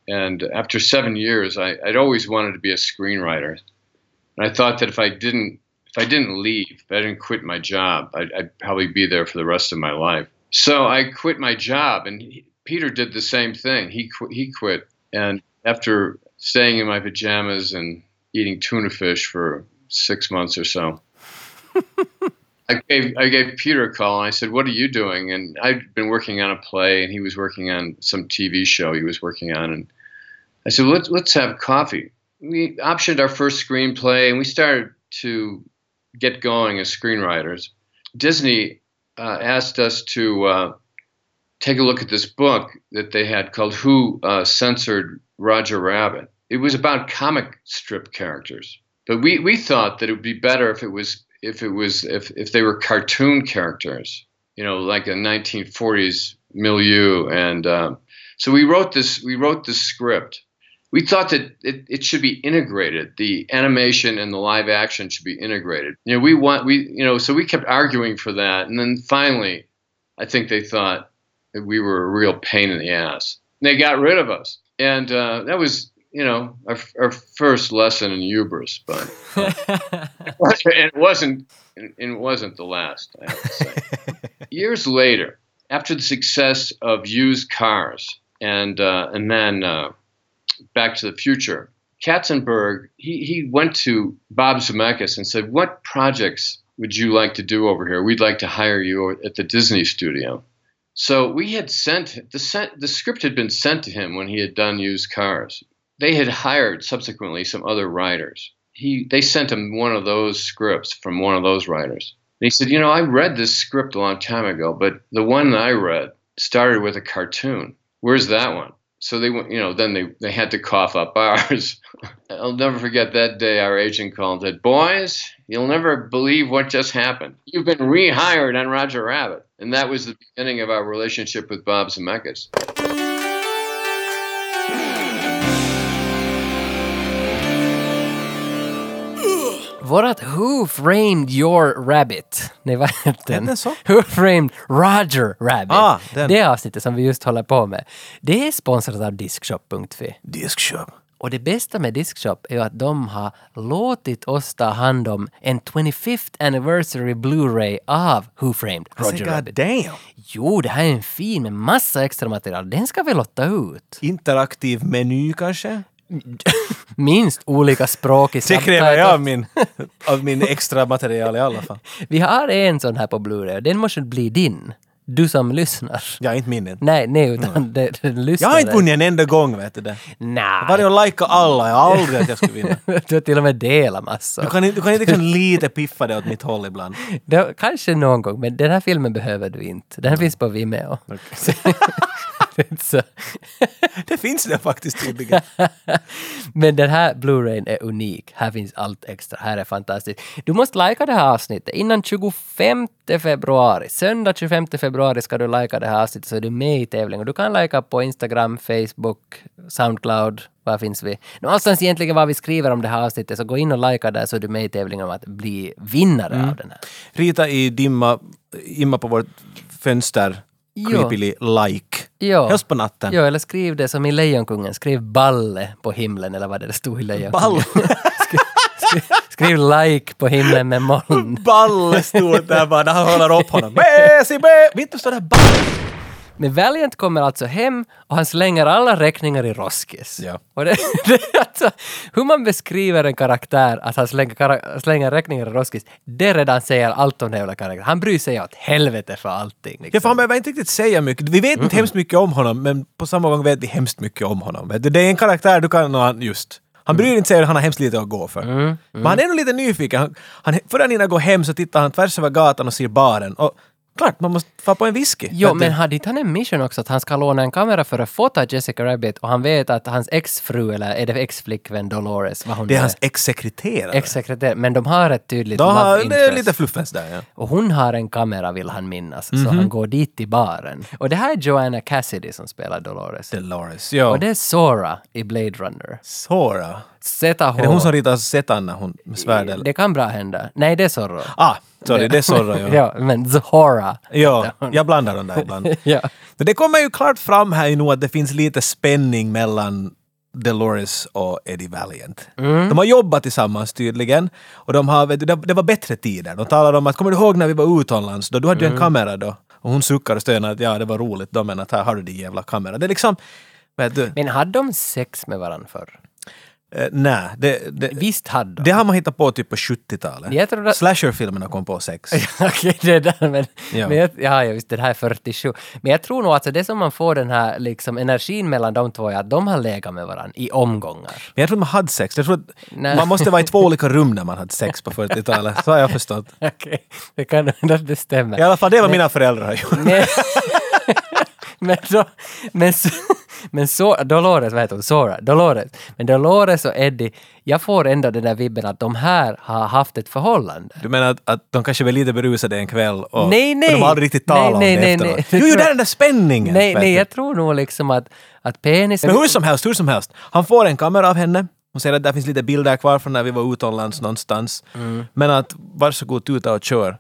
S4: and after seven years, I, I'd always wanted to be a screenwriter, and I thought that if I didn't if I didn't leave, if I didn't quit my job, I'd, I'd probably be there for the rest of my life. So I quit my job, and he, Peter did the same thing. He qu- he quit, and after staying in my pajamas and eating tuna fish for six months or so. I gave I gave Peter a call and I said, "What are you doing?" And I'd been working on a play, and he was working on some TV show he was working on, and I said, "Let's let's have coffee." We optioned our first screenplay, and we started to get going as screenwriters. Disney uh, asked us to uh, take a look at this book that they had called "Who uh, Censored Roger Rabbit." It was about comic strip characters, but we, we thought that it would be better if it was if it was if, if they were cartoon characters, you know, like a 1940s milieu. And um, so we wrote this we wrote this script. We thought that it, it should be integrated. The animation and the live action should be integrated. You know, we want we you know so we kept arguing for that, and then finally, I think they thought that we were a real pain in the ass. And they got rid of us, and uh, that was you know our, our first lesson in hubris, but and it wasn't and it wasn't the last. I have to say. Years later, after the success of Used Cars and uh, and then uh, Back to the Future, Katzenberg he he went to Bob Zemeckis and said, "What projects would you like to do over here? We'd like to hire you at the Disney studio." So we had sent the sent, the script had been sent to him when he had done Used Cars. They had hired subsequently some other writers he they sent him one of those scripts from one of those writers. And he said, "You know, I read this script a long time ago, but the one that I read started with a cartoon. Where's that one?" So they went, you know, then they, they had to cough up ours. I'll never forget that day our agent called and said, Boys, you'll never believe what just happened. You've been rehired on Roger Rabbit. And that was the beginning of our relationship with Bob Zemeckis.
S2: vårat Who Framed Your Rabbit? Nej, vad heter den?
S1: Hette den så?
S2: Who Framed Roger Rabbit?
S1: Ah, den.
S2: Det avsnittet som vi just håller på med. Det är sponsrat av Diskshop.fi.
S1: Diskshop.
S2: Och det bästa med Diskshop är ju att de har låtit oss ta hand om en 25th anniversary Blu-ray av Who Framed Roger
S1: Oh God
S2: Rabbit.
S1: damn.
S2: Jo, det här är en fin med massa extra material. Den ska vi lotta ut.
S1: Interaktiv meny kanske?
S2: Minst olika språk i
S1: Det kräver
S2: subtitles.
S1: jag av min, av min extra material i alla fall.
S2: Vi har en sån här på Blu-ray och den måste bli din. Du som lyssnar.
S1: Ja, inte min. inte.
S2: Nej, nej, utan det, den
S1: Mm. Jag
S2: lyssnare.
S1: har inte vunnit en enda gång, vet du det.
S2: Nej.
S1: Varje och lajka alla, jag har aldrig att jag skulle vinna.
S2: du har till och med delat
S1: Du
S2: massor.
S1: kan, inte- du kan inte liksom lite piffa det åt mitt håll ibland.
S2: Det, kanske någon gång, men den här filmen behöver du inte. Den här finns på Vimeo. Så-
S1: Det finns det faktiskt tydligen.
S2: men den här Blu-rayn är unik. Här finns allt extra. Här är fantastiskt. Du måste lajka det här avsnittet innan 25 februari. Söndag 25 februari ska du lajka det här avsnittet så är du med i tävlingen. Du kan lajka på Instagram, Facebook, Soundcloud. Var finns vi? Någonstans egentligen vad vi skriver om det här avsnittet så gå in och lajka där så är du med i tävlingen om att bli vinnare av den här.
S1: Rita i dimma, imma på vårt fönster,
S2: Jo.
S1: creepily like.
S2: Ja.
S1: Helst på natten.
S2: Ja, eller skriv det som i Lejonkungen, skriv balle på himlen eller vad det stod i Lejonkungen.
S1: Ball,
S2: Skriv like på himlen med moln.
S1: ball stod där bara när han håller upp honom. Bäsi, bä! Vittu står där ball.
S2: Men Valiant kommer alltså hem och han slänger alla räkningar i roskis.
S1: Ja.
S2: Och det, det är alltså, hur man beskriver en karaktär, att han slänger, kara, slänger räkningar i roskis, det redan säger allt om den jävla karaktären. Han bryr sig åt helvete för allting.
S1: Ja,
S2: Liksom.
S1: för han behöver inte riktigt säga mycket. Vi vet inte hemskt mycket om honom, men på samma gång vet vi hemskt mycket om honom. Vet du? Det är en karaktär du kan... och han- Just. Han
S2: Mm.
S1: bryr inte sig, han har hemskt lite att gå för. Men han är nog lite nyfiken. Han, han, före han hinner gå hem så tittar han tvärs över gatan och ser baren. Och klart, man måste få på en whisky.
S2: Jo,
S1: Vet du?
S2: men hade inte han en mission också att han ska låna en kamera för att fota Jessica Rabbit och han vet att hans exfru, eller är det ex-flickvän Dolores, vad hon
S1: Det är hans ex-sekreterare.
S2: Ex-sekreterare, men de har ett tydligt
S1: Då har-
S2: love
S1: det är
S2: interest.
S1: lite fluffens där, ja.
S2: Och hon har en kamera vill han minnas, så
S1: Mhm.
S2: han går dit i baren. Och det här är Joanna Cassidy som spelar Dolores.
S1: Dolores. Ja.
S2: Och det är Sora i Blade Runner.
S1: Sora.
S2: ZH.
S1: Är det hon som ritar Zetan när hon med svärd? eller?
S2: Det kan bra hända. Nej, det är Zorro.
S1: Ah, sorry, det är Sora, ja.
S2: ja, men Zora.
S1: Ja, jag blandar dem där ibland.
S2: Ja.
S1: Så det kommer ju klart fram här ju nog att det finns lite spänning mellan Dolores och Eddie Valiant.
S2: Mm.
S1: De har jobbat tillsammans tydligen och de har, vet du, det det var bättre tider. De talade om att, kommer du ihåg när vi var utomlands då? Du hade ju
S2: Mm.
S1: en kamera då. Och hon suckar och stönar att ja, det var roligt då, men att här har du din jävla kamera. Det är liksom, vet du,
S2: Men hade de sex med varandra förr?
S1: eh, nej, det, det,
S2: Visst hade de.
S1: det har man hittat på typ på 70-talet.
S2: Jag tror att-
S1: Slasher-filmerna kom på sex.
S2: Okej, det där men...
S1: Ja.
S2: men jag, ja, ja, visst, den här är 47. Men jag tror nog alltså det som man får den här liksom energin mellan de två är att de har legat med varandra i omgångar.
S1: Men jag tror man hade sex. Jag tror att
S2: Nej.
S1: man måste vara i två olika rum när man hade sex på 40-talet. Så har jag förstått.
S2: Okej, det kan hända att det stämmer.
S1: I alla fall det var mina föräldrar har gjort.
S2: Men, men, då, men, så, men så, Dolores, vad heter hon? Sora? Dolores. Men Dolores och Eddie, jag får ändå den där vibben att de här har haft ett förhållande.
S1: Du menar att, att de kanske var lite berusade en kväll och,
S2: Nej, nej.
S1: och de har aldrig riktigt
S2: Nej,
S1: talat
S2: nej,
S1: om
S2: nej,
S1: det
S2: nej.
S1: efteråt? Jo, jo, där är den där spänningen!
S2: Nej,
S1: vet
S2: nej,
S1: du.
S2: jag tror nog liksom att, att penis...
S1: Men hur som helst, hur som helst. Han får en kamera av henne. Hon säger att det finns lite bilder kvar från när vi var utomlands någonstans.
S2: Mm.
S1: Men att varsågod, tuta och kör.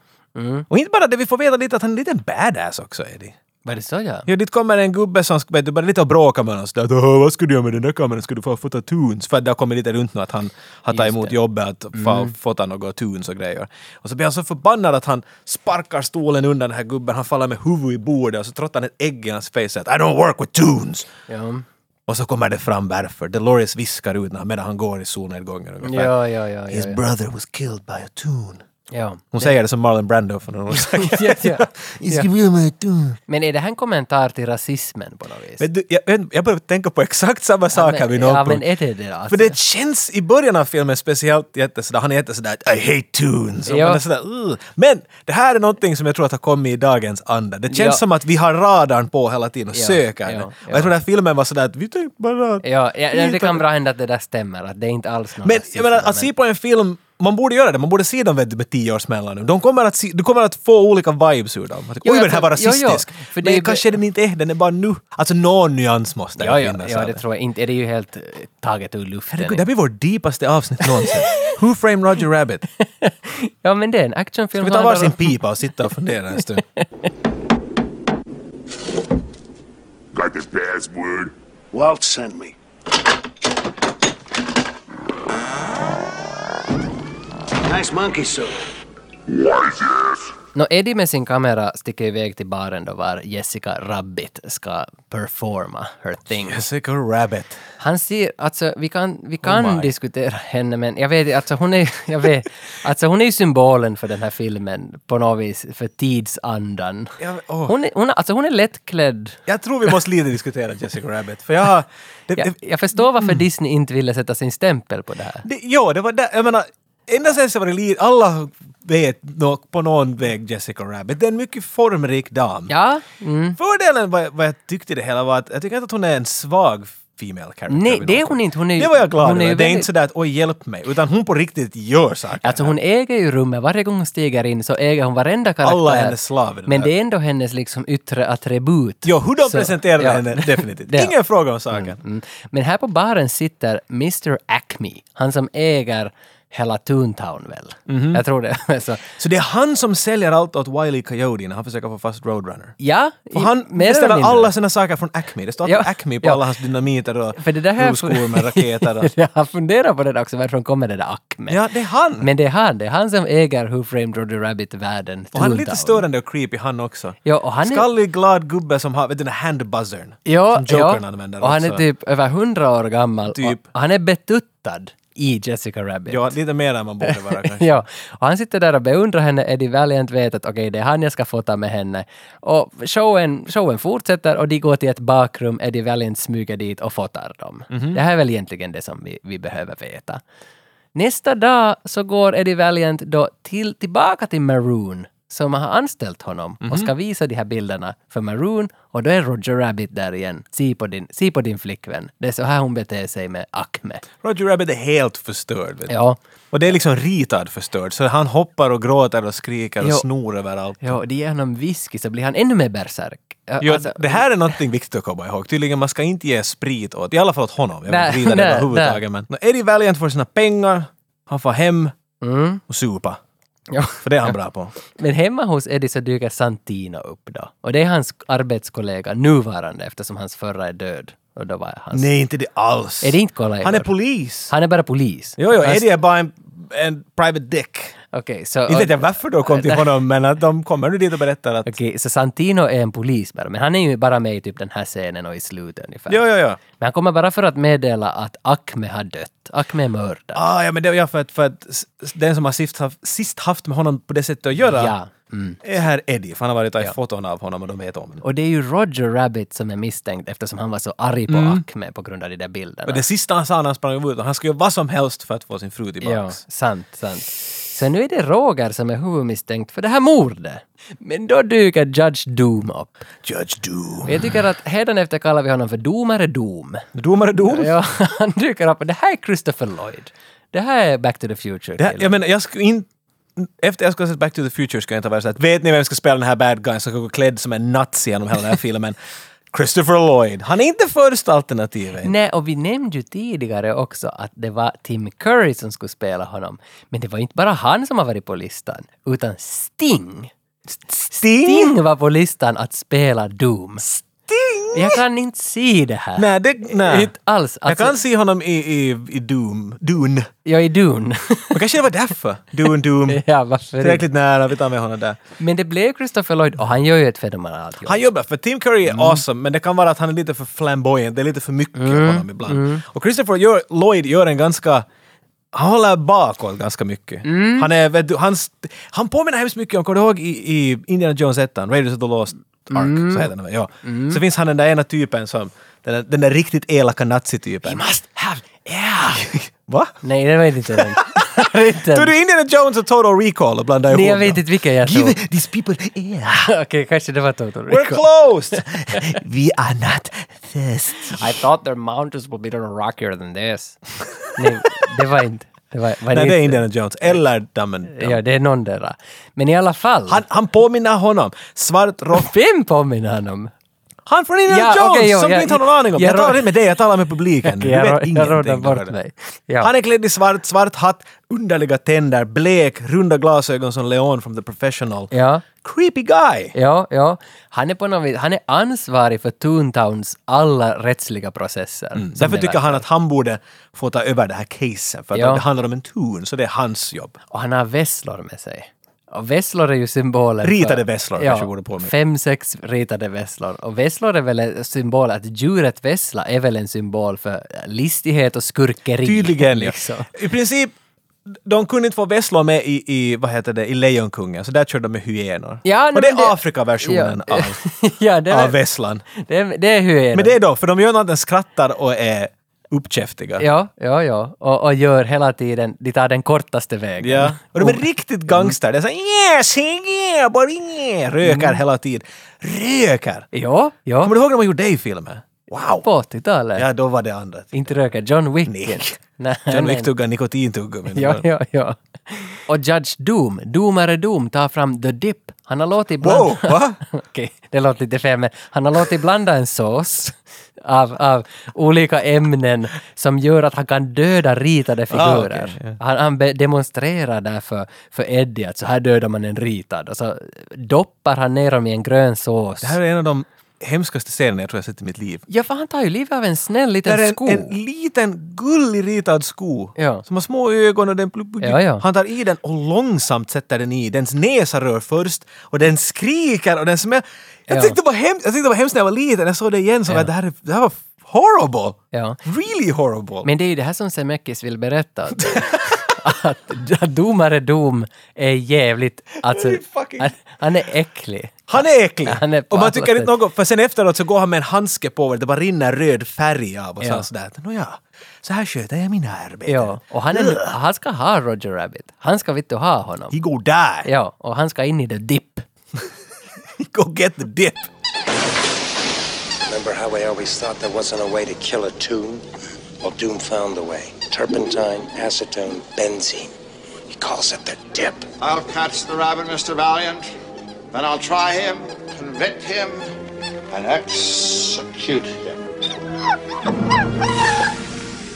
S1: Och inte bara det, vi får veta lite att han är en liten badass också, Eddie.
S2: Var det så ja?
S1: Jo, dit kommer en gubbe som vet du, börjar lite att bråka med oss. Där, att, "Åh, vad ska du göra med den där kameran? Ska du få fota tunes? För att det har kommit lite runt nu att han har tagit emot jobbet att få
S2: Mm.
S1: fota några tunes och grejer. Och så blir han så förbannad att han sparkar stolen undan den här gubben. Han faller med huvudet i bordet och så trottar han ett ägg i hans face. och säger Att, I don't work with tunes!
S2: Ja,
S1: Och så kommer det fram varför. Dolores viskar ut när- medan han går i solnedgången ungefär.
S2: ja, ja. ja,
S1: His
S2: ja,
S1: brother was killed by a tune.
S2: ja.
S1: Hon säger det som Marlon Brando för några år sedan.
S2: ja, ja.
S1: He's killed by a tune.
S2: Men är det här en kommentar till rasismen på något vis?
S1: Men du, jag, jag började tänka på exakt samma sak här vid någon
S2: ja,
S1: punkt.
S2: men är det det alltså?
S1: För det känns i början av filmen speciellt jättesådär, han är jättesådär I hate tunes. Och
S2: Ja.
S1: man är sådär, "Ugh." Men det här är någonting som jag tror att har kommit i dagens anda. Det känns
S2: Ja.
S1: som att vi har radarn på hela tiden och
S2: Ja,
S1: söker
S2: ja,
S1: den. Och
S2: ja.
S1: jag tror den här filmen var sådär att vi tänkte bara att
S2: Ja, ja, ja, det
S1: Lite-
S2: kan bra hända att det där stämmer, att det är inte alls någon
S1: Men
S2: rasism,
S1: jag menar, att se på en film man borde göra det, man borde se dem vet du, med tio års mellanrum. De kommer att se, du kommer att få olika vibes ur dem. Att, Oj,
S2: Jo, jag
S1: men den här var
S2: tror- jo, jo.
S1: rasistisk.
S2: För det är ju-
S1: Men kanske den inte är, den är bara nu. Alltså någon nyans måste
S2: Ja,
S1: det
S2: ja,
S1: finnas.
S2: ja,
S1: av
S2: det tror jag inte. Det är ju helt eh, taget ur luften.
S1: Herregud, det här blir vårt deepaste avsnitt någonsin. Who framed Roger Rabbit?
S2: Ja, men det är en
S1: Ska
S2: actionfilm.
S1: vi ta
S2: handlar
S1: varsin
S2: om-
S1: pipa och sitta och fundera en stund?
S9: Got the password?
S7: Walt sent me. Nice monkey suit.
S9: Why is this?
S2: Nå, Eddie med sin kamera sticker iväg till baren då var Jessica Rabbit ska performa her thing.
S1: Jessica Rabbit.
S2: Han ser, alltså vi kan, vi kan
S1: Oh my.
S2: diskutera henne men jag vet alltså hon är, jag vet, alltså hon är ju symbolen för den här filmen på något vis, för tidsandan.
S1: Ja, åh.
S2: Hon är, hon, är- alltså hon är lättklädd.
S1: Jag tror vi måste lite diskutera Jessica Rabbit, för jag har... Det,
S2: Jag,
S1: det, Mm.
S2: jag förstår varför Disney inte ville sätta sin stämpel på det här.
S1: det, ja, det var där, jag menar, ända sen så var det lite, alla vet nå- på någon väg Jessica Rabbit. Det är en mycket formrik dam.
S2: Ja, mm.
S1: Fördelen vad, vad jag tyckte i det hela var att jag tycker inte att hon är en svag female character.
S2: Nej,
S1: vid
S2: det är
S1: något.
S2: hon inte. Hon är ju-
S1: det var jag glad
S2: hon är
S1: över.
S2: ju
S1: Det är
S2: väldigt-
S1: inte sådär att oj hjälp mig, utan hon på riktigt gör saker.
S2: Alltså hon äger ju rummet, varje gång hon stiger in så äger hon varenda karaktär.
S1: Alla hennes slav i den
S2: Men
S1: här.
S2: det är ändå hennes liksom yttre attribut.
S1: Jo, hur de
S2: Så-
S1: presenterade
S2: ja.
S1: henne, definitivt.
S2: Det-
S1: Ingen fråga om saken.
S2: Mm. Men här på baren sitter Mr Acme, han som äger hela Toontown väl?
S1: Mhm.
S2: Jag tror det. så,
S1: Så det är han som säljer allt åt Wiley Coyote när han försöker få fast Roadrunner.
S2: ja,
S1: Och
S2: i-
S1: han
S2: mer eller
S1: beställer
S2: mindre.
S1: alla sina saker från Acme. Det står alltid
S2: Ja,
S1: Acme på
S2: ja.
S1: alla hans dynamiter och
S2: För det där här...
S1: rullskor med raketer. Och...
S2: jag har funderat på det där också, varifrån kommer det där Acme?
S1: Ja, det är han!
S2: Men det är han, det är han som äger Who Framed Roger Rabbit-världen,
S1: och han är lite
S2: Toontown.
S1: störande och creepy han också.
S2: Ja, och han är-
S1: Skallig, glad gubbe som har, vet du, den här handbuzzern.
S2: Ja,
S1: som Jokern
S2: ja.
S1: använder
S2: och han är
S1: också.
S2: typ över hundra år gammal.
S1: Typ.
S2: Och han är betuttad i Jessica Rabbit.
S1: Ja, lite mer än man borde vara kanske.
S2: Ja, och han sitter där och beundrar henne. Eddie Valiant vet att okej, det är han jag ska fota med henne. Och showen, showen fortsätter och de går till ett bakrum. Eddie Valiant smyger dit och fotar dem. Det här är väl egentligen det som vi, vi behöver veta. Nästa dag så går Eddie Valiant då till, tillbaka till Maroon som har anställt honom och ska visa de här bilderna för Maroon och då är Roger Rabbit där igen. Se på din, se på din flickvän. Det är så här hon beter sig med Acme.
S1: Roger Rabbit är helt förstörd. Vet du.
S2: Ja.
S1: Och det är liksom ritad förstörd. Så han hoppar och gråter och skriker och
S2: Ja.
S1: snor överallt.
S2: Ja, det ger honom whisky så blir han ännu mer bärsärk. Ja,
S1: Jo,
S2: alltså-
S1: det här är någonting viktigt att komma ihåg. Tydligen man ska inte ge sprit åt, i alla fall åt honom. Jag
S2: Nej,
S1: vill inte
S2: nej,
S1: det överhuvudtaget. Men Nå, Eddie Valiant får sina pengar, han får hem
S2: Mm.
S1: och supa.
S2: Ja.
S1: För det är han bra på.
S2: Men hemma hos Eddie så dyker Santino upp då. Och det är hans arbetskollega, nuvarande, eftersom hans förra är död. Och då var hans...
S1: Nej, inte det alls.
S2: Är det inte kollegor?
S1: han är polis.
S2: Han är bara polis.
S1: Jo, jo,
S2: Hans-
S1: Eddie är bara en, en private dick.
S2: Okej, så...
S1: Inte vet jag varför de kom till honom, men att de kommer nu dit och berättar att...
S2: Okej, så Santino är en polis bara, men han är ju bara med i typ den här scenen och i slutet ungefär.
S1: Jo, jo, jo.
S2: Men han kommer bara för att meddela att Acme har dött. Acme är mördad.
S1: Ah, ja, men det var jag för att, för att s- s- den som har sist haft, sist haft med honom på det sättet att göra
S2: Ja. Mm.
S1: är här Eddie, för han har varit och tagit foton av honom och de vet om det.
S2: Och det är ju Roger Rabbit som är misstänkt eftersom han var så arg
S1: Mm.
S2: på Acme på grund av de där bilderna.
S1: Och det sista han sa när han sprang ut, och han ska göra vad som helst för att få sin fru
S2: Ja,
S1: tillbaks.
S2: sant, sant. Så nu är det Roger som är huvudmisstänkt för det här mordet. Men då dyker Judge Doom upp.
S1: Judge Doom.
S2: Och jag tycker att hädanefter kallar vi honom för Domare Doom.
S1: Domare Doom.
S2: Ja, han dyker upp. Det här är Christopher Lloyd. Det här är Back to the Future.
S1: Det här,
S2: killen.
S1: jag menar, jag skulle inte... Efter jag skulle ha sett Back to the Future skulle jag inte ha varit såhär vet ni vem som ska spela den här bad guyen som ska gå klädd som en nazi genom hela den här filmen? Christopher Lloyd. Han är inte första alternativet.
S2: Nej, och vi nämnde ju tidigare också att det var Tim Curry som skulle spela honom. Men det var inte bara han som har varit på listan, utan Sting.
S1: Sting?
S2: Sting var på listan att spela Doom. Sting! Jag kan inte se det här.
S1: Nej, det... Nej.
S2: Inte alls. Alltså,
S1: jag kan se honom i, i, i Doom. Dune.
S2: Jag är Dune.
S1: Men kanske det var därför. Dune, Doom.
S2: ja, varför inte?
S1: Tillräckligt nära, vi tar med honom där.
S2: Men det blev Christopher Lloyd och han gör ju ett fenomenalt jobb.
S1: Han jobbar för Tim Curry är
S2: Mm.
S1: awesome, men det kan vara att han är lite för flamboyant. Det är lite för mycket
S2: Mm.
S1: på honom ibland. Och Christopher gör, Lloyd gör en ganska... Han håller bakåt ganska mycket.
S2: Mm.
S1: Han är, vet du, han, st- han påminner hemskt mycket om, kommer du ihåg i, i Indiana Jones 1, Raiders of the Lost Ark,
S2: Mm.
S1: så heter den väl, ja. Så finns han den där ena typen som, den där, den där riktigt elaka nazitypen. He must have air! Va?
S2: Nej, det var inte den. Det var inte
S1: Tror
S2: den.
S1: du Indiana Jones och Total Recall och blandar ihop
S2: Nej, jag
S1: dem?
S2: vet inte vilken jag
S1: Give
S2: tror.
S1: these people air!
S2: Okej, kanske det var Total
S1: We're
S2: Recall.
S1: closed! We are not thirsty.
S2: I thought their mountains would be a little rockier than this. Nej, det var inte. Eh, Det var, var
S1: Nej,
S2: dit-
S1: det är Indiana Jones. Eller Dumb
S2: Ja, det är någon där. Men i alla fall.
S1: han, han påminner honom. Svart rock.
S2: Vem påminner han om?
S1: Han från Indiana
S2: Ja,
S1: Jones
S2: okej, jo,
S1: som
S2: jag-
S1: du inte har någon aning om.
S2: jag
S1: Jag,
S2: rå-
S1: talar inte med dig, jag talar med publiken. Du
S2: Jag,
S1: vet
S2: rå- jag råddar
S1: ingenting.
S2: bort
S1: hörru.
S2: mig. Ja.
S1: Han är klädd i svart, svart hatt, underliga tänder, blek, runda glasögon som Leon from The Professional.
S2: Ja.
S1: Creepy guy!
S2: Ja, ja. Han är på något vis, han är ansvarig för Toontowns alla rättsliga processer. som
S1: Mm. Därför
S2: det
S1: tycker
S2: verkar.
S1: han att han borde få ta över det här casen, för att
S2: Ja.
S1: det handlar om en tun, så det är hans jobb.
S2: Och han har vesslor med sig. Och vesslor är ju symbolen
S1: Ritade
S2: för...
S1: vesslor,
S2: ja,
S1: kanske borde påminna.
S2: Fem, sex ritade vesslor. Och vesslor är väl en symbol, att djuret vessla är väl en symbol för listighet och skurkeri.
S1: Tydligen, ja.
S2: liksom.
S1: I princip, de kunde inte få vesslor med i, i, vad heter det, i Lejonkungen, så där körde de med hyenor.
S2: Ja, nej,
S1: Och det
S2: men
S1: är Afrika-versionen
S2: ja.
S1: av,
S2: ja, det
S1: av
S2: är,
S1: vesslan.
S2: det är, det är hyenorna.
S1: Men det är då, för de gör något annat än skrattar och är uppkäftiga.
S2: Ja, ja, ja. Och, och gör hela tiden, de tar den kortaste vägen.
S1: Ja. Och
S2: Oh.
S1: de är riktigt gangster. Det är såhär yes, yeah, bara yeah. Röker
S2: Mm.
S1: hela tiden. Röker!
S2: Ja, ja.
S1: Kommer du ihåg när man gjorde det i filmen? Wow!
S2: På 80-talet.
S1: Ja, då var det andra.
S2: Inte röka, John Wick.
S1: Nej.
S2: Nej,
S1: John
S2: nej.
S1: Wick tuggar nikotintuggummin.
S2: Ja, ja, ja. Och Judge Doom, domare Doom, tar fram The Dip. Han har låtit blanda...
S1: Wow, va?
S2: Okej, det låter lite fel, men han har låtit blanda en sås av, av olika ämnen som gör att han kan döda ritade figurer.
S1: Ah, okej,
S2: Han, han be- demonstrerar där för, för Eddie att så här dödar man en ritad. Och så doppar han ner dem i en grön sås.
S1: Det här är en av de hemskaste scenerna jag tror jag sett i mitt liv.
S2: Ja, för han tar ju livet av en snäll
S1: Där
S2: liten
S1: är
S2: sko.
S1: en, en liten gullig ritad sko
S2: Ja.
S1: som har små ögon och den plup, plup, plup.
S2: Ja, ja.
S1: Han tar i den och långsamt sätter den i. Dens näsa rör först och den skriker och den smäller. Jag,
S2: Ja.
S1: tyckte det var hem, jag tyckte det var hemskt när jag var liten. Jag såg det igen som
S2: Ja.
S1: att det här, är- det här var horrible.
S2: Ja.
S1: Really horrible.
S2: Men det är ju det här som Semekis vill berätta. Att, att domare Dom är jävligt... Alltså,
S1: Det är fucking-
S2: han, han är äcklig.
S1: han är äcklig!
S2: Han är alltså, på
S1: och man
S2: alla
S1: tycker inte
S2: sätt.
S1: något, för sen efteråt så går han med en handske på och det bara rinner röd färg av och
S2: Ja.
S1: ja. sådär. Nåja, så här sköter jag mina arbeten.
S2: Ja, och han, är, han ska ha Roger Rabbit. Han ska vittu ha honom.
S1: He go die!
S2: Ja, och han ska in i the dip.
S1: He go get the dip!
S10: Remember how I always thought there wasn't a way to kill a tune? Well, Doom found the way. Turpentine, acetone, benzene. He calls it the dip.
S6: I'll catch the rabbit, Mr. Valiant. Then I'll try him, convict him, and execute him.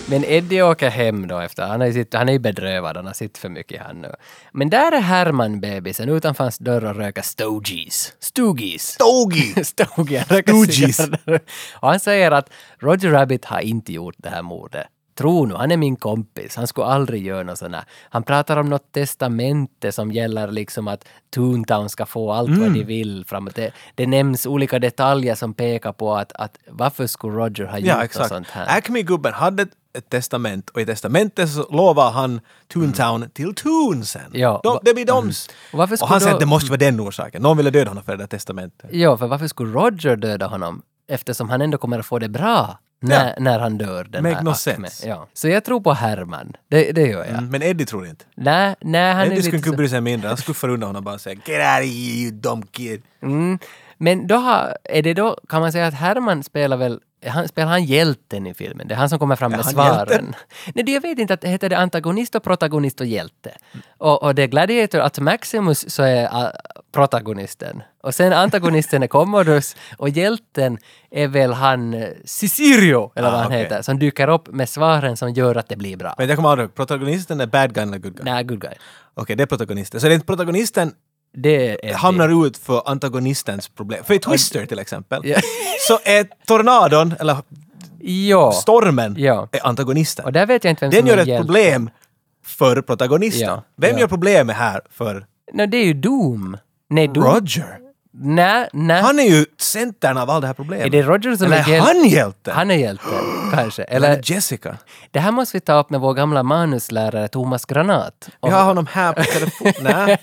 S2: Men Eddie åker hem då efter, han är, ju sitt, han är ju bedrövad, han har sitt för mycket han nu. Men där är Herman bebisen utanför hans dörr och röker stogies. Stogies.
S1: Stogie!
S2: Stogie. han röker
S1: Stooges.
S2: cigarrer. Och han säger att Roger Rabbit har inte gjort det här mordet. Tro nu, han är min kompis. Han skulle aldrig göra något sånt här. Han pratar om något testamente som gäller liksom att Toontown ska få allt vad
S1: Mm.
S2: de vill framåt. Det, det nämns olika detaljer som pekar på att, att varför skulle Roger ha gjort
S1: Ja,
S2: något
S1: exakt. Äh,
S2: sånt här?
S1: Acme-gubben hade ett- ett testament och i testamentet så lovar han Toontown till Toon sen.
S2: Mm. Ja,
S1: De,
S2: va-
S1: det blir doms.
S2: Och varför
S1: Och han
S2: skulle
S1: säger
S2: då-
S1: att det måste vara den orsaken. Någon ville döda honom för det där testamentet.
S2: Ja, för varför skulle Roger döda honom? Eftersom han ändå kommer att få det bra när, när han dör. Den
S1: Make
S2: här
S1: no
S2: Acme.
S1: sense.
S2: Ja. Så jag tror på Herman. Det, det gör jag.
S1: Mm, men Eddie tror inte.
S2: Nej, nej, han är
S1: Eddie skulle
S2: lite
S1: inte
S2: så...
S1: bry sig mindre. Han skuffar undan honom och bara säger “Get out of here you dumb kid”.
S2: mm. Men då har, är det då, kan man säga att Herman spelar väl, han, spelar han hjälten i filmen? Det är han som kommer fram med
S1: han
S2: svaren.
S1: hjälten?
S2: Nej, det jag vet inte, att heter det antagonist och protagonist och hjälte? Och, och det är Gladiator, att Maximus så är ah, protagonisten. Och sen antagonisten är Commodus och hjälten är väl han eh, Cicirio, eller vad
S1: Ah,
S2: han
S1: okej.
S2: heter, som dyker upp med svaren som gör att det blir bra.
S1: Men jag kommer aldrig ihåg, protagonisten är bad guy eller good guy?
S2: Nej, good guy.
S1: Okej, det är protagonisten. Så det är inte protagonisten
S2: Det är
S1: hamnar ut för antagonistens problem. För i Twister till exempel,
S2: Ja.
S1: så är tornadon, eller
S2: Ja.
S1: stormen,
S2: Ja.
S1: är antagonisten.
S2: Och där vet jag inte vem
S1: Den
S2: som
S1: gör
S2: är
S1: ett
S2: hjälten.
S1: problem för protagonisten.
S2: Ja,
S1: Vem
S2: ja.
S1: gör problemet här för
S2: Nej, det är ju Doom. Nej, Doom.
S1: Roger?
S2: Nej, nej.
S1: Han är ju centern av allt det här problemet.
S2: är det Roger som
S1: Eller
S2: är
S1: är
S2: hjälten?
S1: han hjälten?
S2: Han är hjälten, kanske.
S1: Eller
S2: Eller,
S1: Jessica?
S2: det här måste vi ta upp med vår gamla manuslärare Thomas Granat.
S1: Vi
S2: Och
S1: har honom här på telefon. Nej.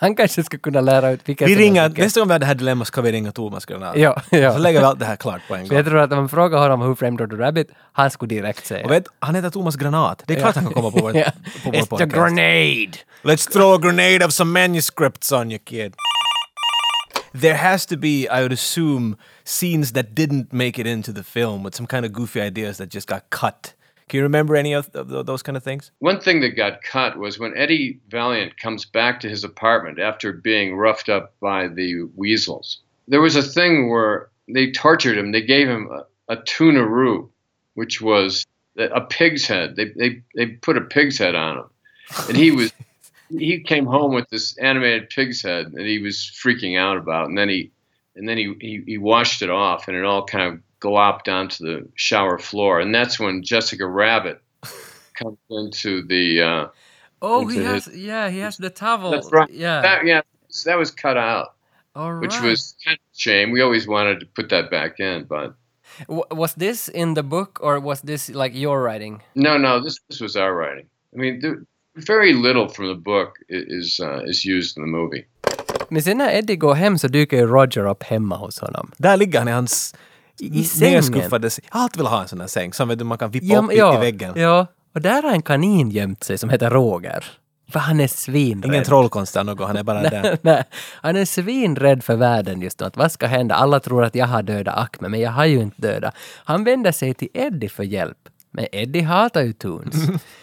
S2: Han kanske skulle kunna lära ut vilka
S1: Vi
S2: som är
S1: ringer,
S2: vilka.
S1: nästa gång vi har det här dilemmat ska vi ringa Thomas Granat.
S2: Ja, ja.
S1: Så lägger vi allt det här klart på en
S2: För Jag
S1: gång.
S2: tror att om man frågar honom Who Framed Roger Rabbit, han skulle direkt säga.
S1: Och vet, han heter Thomas Granat. Det är klart han kan komma på vår,
S2: Ja.
S1: på vår
S2: It's the
S1: podcast.
S2: grenade!
S1: Let's throw a grenade of some manuscripts on you, kid. There has to be, I would assume, scenes that didn't make it into the film with some kind of goofy ideas that just got cut. Can you remember any of th- th- those kind of things?
S4: One thing that got cut was when Eddie Valiant comes back to his apartment after being roughed up by the weasels. There was a thing where they tortured him. They gave him a, a tuna roux, which was a, a pig's head. They, they, they put a pig's head on him. And he was he came home with this animated pig's head that he was freaking out about and then he and then he, he, he washed it off and it all kind of glopped onto the shower floor and that's when jessica rabbit comes into the uh
S2: Oh,
S4: into
S2: he
S4: his-
S2: has, yeah, he has the towel.
S4: That's right.
S2: Yeah.
S4: that, yeah that was cut out
S2: All right.
S4: which was kind of a shame we always wanted to put that back in but
S2: W- was this in the book or was this like your writing?
S4: no no this this was our writing i mean there, very little from the book i- is uh, is used in the movie
S2: Men sen när Eddie går hem så dyker ju Roger upp hemma hos honom.
S1: Där ligger han i hans
S2: I, i sängen.
S1: nedskuffade... säng. Allt vill ha en sån här säng som vet du, man kan vippa upp i- i väggen.
S2: ja, och där har en kanin gömt sig som heter Roger. För han är svinrädd.
S1: Ingen trollkonst eller något, han är bara där.
S2: Nej, han är svinrädd för världen just nu. Att vad ska hända? Alla tror att jag har dödat Acme, men jag har ju inte dödat. Han vänder sig till Eddie för hjälp. Men Eddie hatar ju Toons.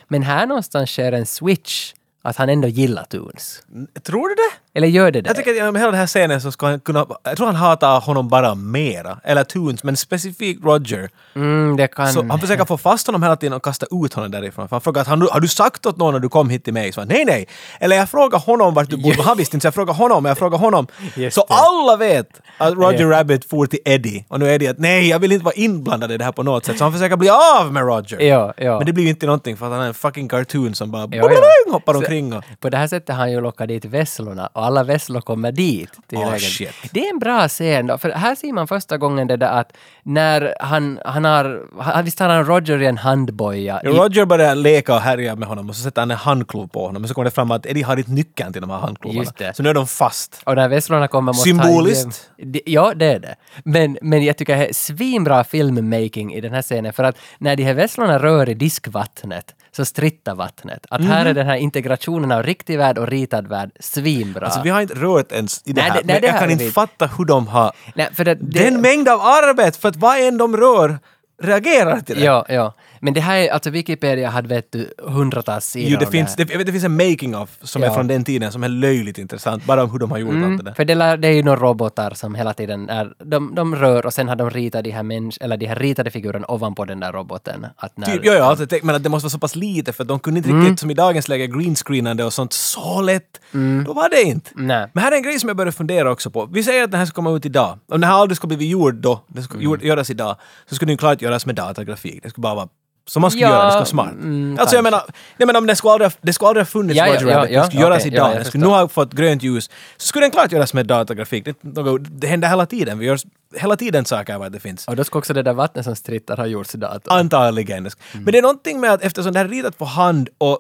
S2: Men här någonstans sker en switch. Att han ändå gillar Toons.
S1: Tror du det?
S2: Eller gör det det?
S1: Jag tycker att genom hela den här scenen så ska han kunna... Jag tror han hatar honom bara mera. Eller Toons, men specifikt Roger.
S2: mm, det kan...
S1: Så han försöker få fast honom hela tiden och kasta ut honom därifrån. För han frågar att har du, har du sagt åt någon när du kom hit till mig? Så han, nej, nej. Eller jag frågar honom vart du bor. Han visste inte, så jag frågar honom, jag frågar honom.
S2: Just
S1: så
S2: det.
S1: alla vet att Roger
S2: Ja.
S1: Rabbit for till Eddie. Och nu är Eddie att nej, jag vill inte vara inblandad i det här på något sätt. Så han försöker bli av med Roger.
S2: Ja, ja.
S1: Men det blir ju inte någonting för att han är en fucking cartoon som bara
S2: Ja, ja.
S1: hoppar
S2: Så-
S1: omkring. Och,
S2: På det här sättet har han ju lockat dit vesslorna och alla vesslor kommer dit. Till
S1: Ah,
S2: lägenheten.
S1: shit.
S2: Det är en bra scen då, för här ser man första gången det där att när han, han har, han, visst har han Roger i en handboja? i-
S1: Roger börjar leka och härja med honom och så sätter han en handklov på honom. Men så kommer det fram att Eddie har inte nyckeln till de här handklovarna.
S2: Just det.
S1: Så nu är de fast.
S2: Och när vesslorna kommer måste han
S1: Symboliskt.
S2: ju- Det- Ja, det är det. Men, men jag tycker det är svinbra filmmaking i den här scenen för att när de här vesslorna rör i diskvattnet så strittar vattnet. Att
S1: Mhm.
S2: här är den här integrationen av riktig värld och ritad värld svinbra.
S1: Alltså vi har inte rört ens i det
S2: Nej,
S1: här.
S2: det- nej,
S1: men
S2: det
S1: jag
S2: har
S1: kan
S2: vi
S1: inte
S2: inte.
S1: fatta hur de har...
S2: Nej, för det, det,
S1: Den mängd av arbete, för att vad än de rör reagerar till det.
S2: Ja, ja. Men det här är, alltså Wikipedia hade vet du hundratals sidor
S1: Jo, det,
S2: om
S1: finns,
S2: det
S1: det, jag vet, det finns en making of som
S2: Ja.
S1: är från den tiden som är löjligt intressant, bara om hur de har gjort allt det
S2: Mm,
S1: där.
S2: för det, lär- det är ju några robotar som hela tiden är, de, de rör och sen har de ritat de här människ- eller de här ritade figurerna ovanpå den där roboten. Att när, Mm.
S1: Typ, ja, ja, alltså, tänk- men att det måste vara så pass lite för att de kunde inte riktigt, som i dagens läge, greenscreenande och sånt så lätt. Då var det inte.
S2: Mm. Nej.
S1: Men här är en grej som jag börjar fundera också på. Vi säger att den här ska komma ut idag. Om den här aldrig ska bli gjord då, den ska
S2: Mm.
S1: gjord, göras idag, så skulle den ju klart göras med datagrafik. Det skulle bara vara som man skulle
S2: Ja,
S1: göra, det skulle vara smart.
S2: mm,
S1: alltså jag
S2: kanske.
S1: menar, nej men om den skulle aldrig, ha- det skulle aldrig ha funnits
S2: Ja, ja,
S1: Roger
S2: ja,
S1: Rabbit,
S2: ja,
S1: den skulle göras
S2: okej, ja,
S1: idag,
S2: jag
S1: den skulle nu
S2: förstår.
S1: ha fått grönt ljus, så skulle den klart göras med datagrafik. Det, är något- det händer hela tiden, vi gör hela tiden saker vad det finns.
S2: Och då ska också det där vattnet som strittar ha gjorts i datorn.
S1: Ah. Antagligen.
S2: Mm.
S1: Men det är någonting med att eftersom det här är ritat på hand och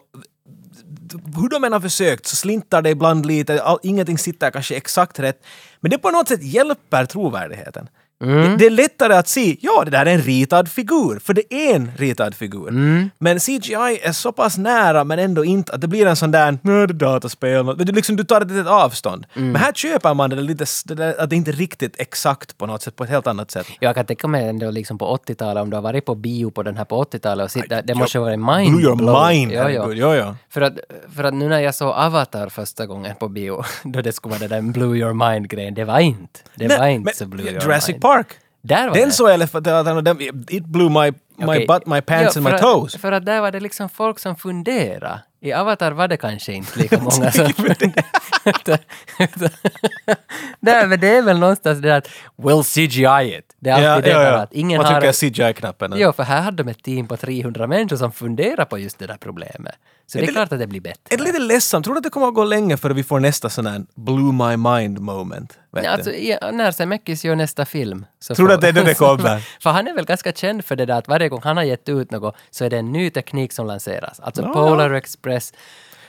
S1: hur de än har försökt så slintar det ibland lite, all, ingenting sitter kanske exakt rätt. Men det på något sätt hjälper trovärdigheten.
S2: Mm.
S1: Det, det är lättare att se, ja det där är en ritad figur, för det är en ritad figur.
S2: Mm.
S1: Men CGI är så pass nära men ändå inte att det blir en sån där, nej det är dataspel, men du, liksom, du tar ett litet avstånd.
S2: Mm.
S1: Men här köper man det där lite, s- det där, att det inte är riktigt exakt på något sätt, på ett helt annat sätt.
S2: Jag kan tänka mig ändå liksom på 80-talet, om du har varit på bio på den här på 80-talet och sitt, det, det
S1: Ja,
S2: måste ju vara en mind
S1: Blew your
S2: blow.
S1: mind!
S2: Ja, ja.
S1: herregud. Ja, ja.
S2: För att, för att nu när jag såg Avatar första gången på bio, då det skulle vara den där Blew Your Mind-grejen, det var inte. Det var
S1: Nej,
S2: inte så Blew Your
S1: Jurassic
S2: Mind.
S1: Park.
S2: Där var
S1: Den
S2: det.
S1: såg jag för att den, it blew my, my
S2: Okej.
S1: butt, my pants
S2: Ja,
S1: and my
S2: för
S1: toes.
S2: Att, för att där var det liksom folk som funderade. I Avatar var det kanske inte lika många som funderade. Nej, men det är väl någonstans det där att “Will CGI it?” Det är alltid det där att ingen
S1: Man
S2: har...
S1: trycker CGI-knappen.
S2: Ja, för här hade de ett team på 300 människor som funderar på just det där problemet. Så det är
S1: det-
S2: klart att det blir bättre.
S1: Är det lite ledsamt? Tror du att det kommer att gå länge före vi får nästa sån här blew my mind moment? Vet
S2: Nej,
S1: du?
S2: Alltså, ja, när Zemeckis gör nästa film. Så
S1: Tror du
S2: får-
S1: att det är det det kommer?
S2: för han är väl ganska känd för det där att varje gång han har gett ut något så är det en ny teknik som lanseras. Alltså
S1: Ja,
S2: Polar Express.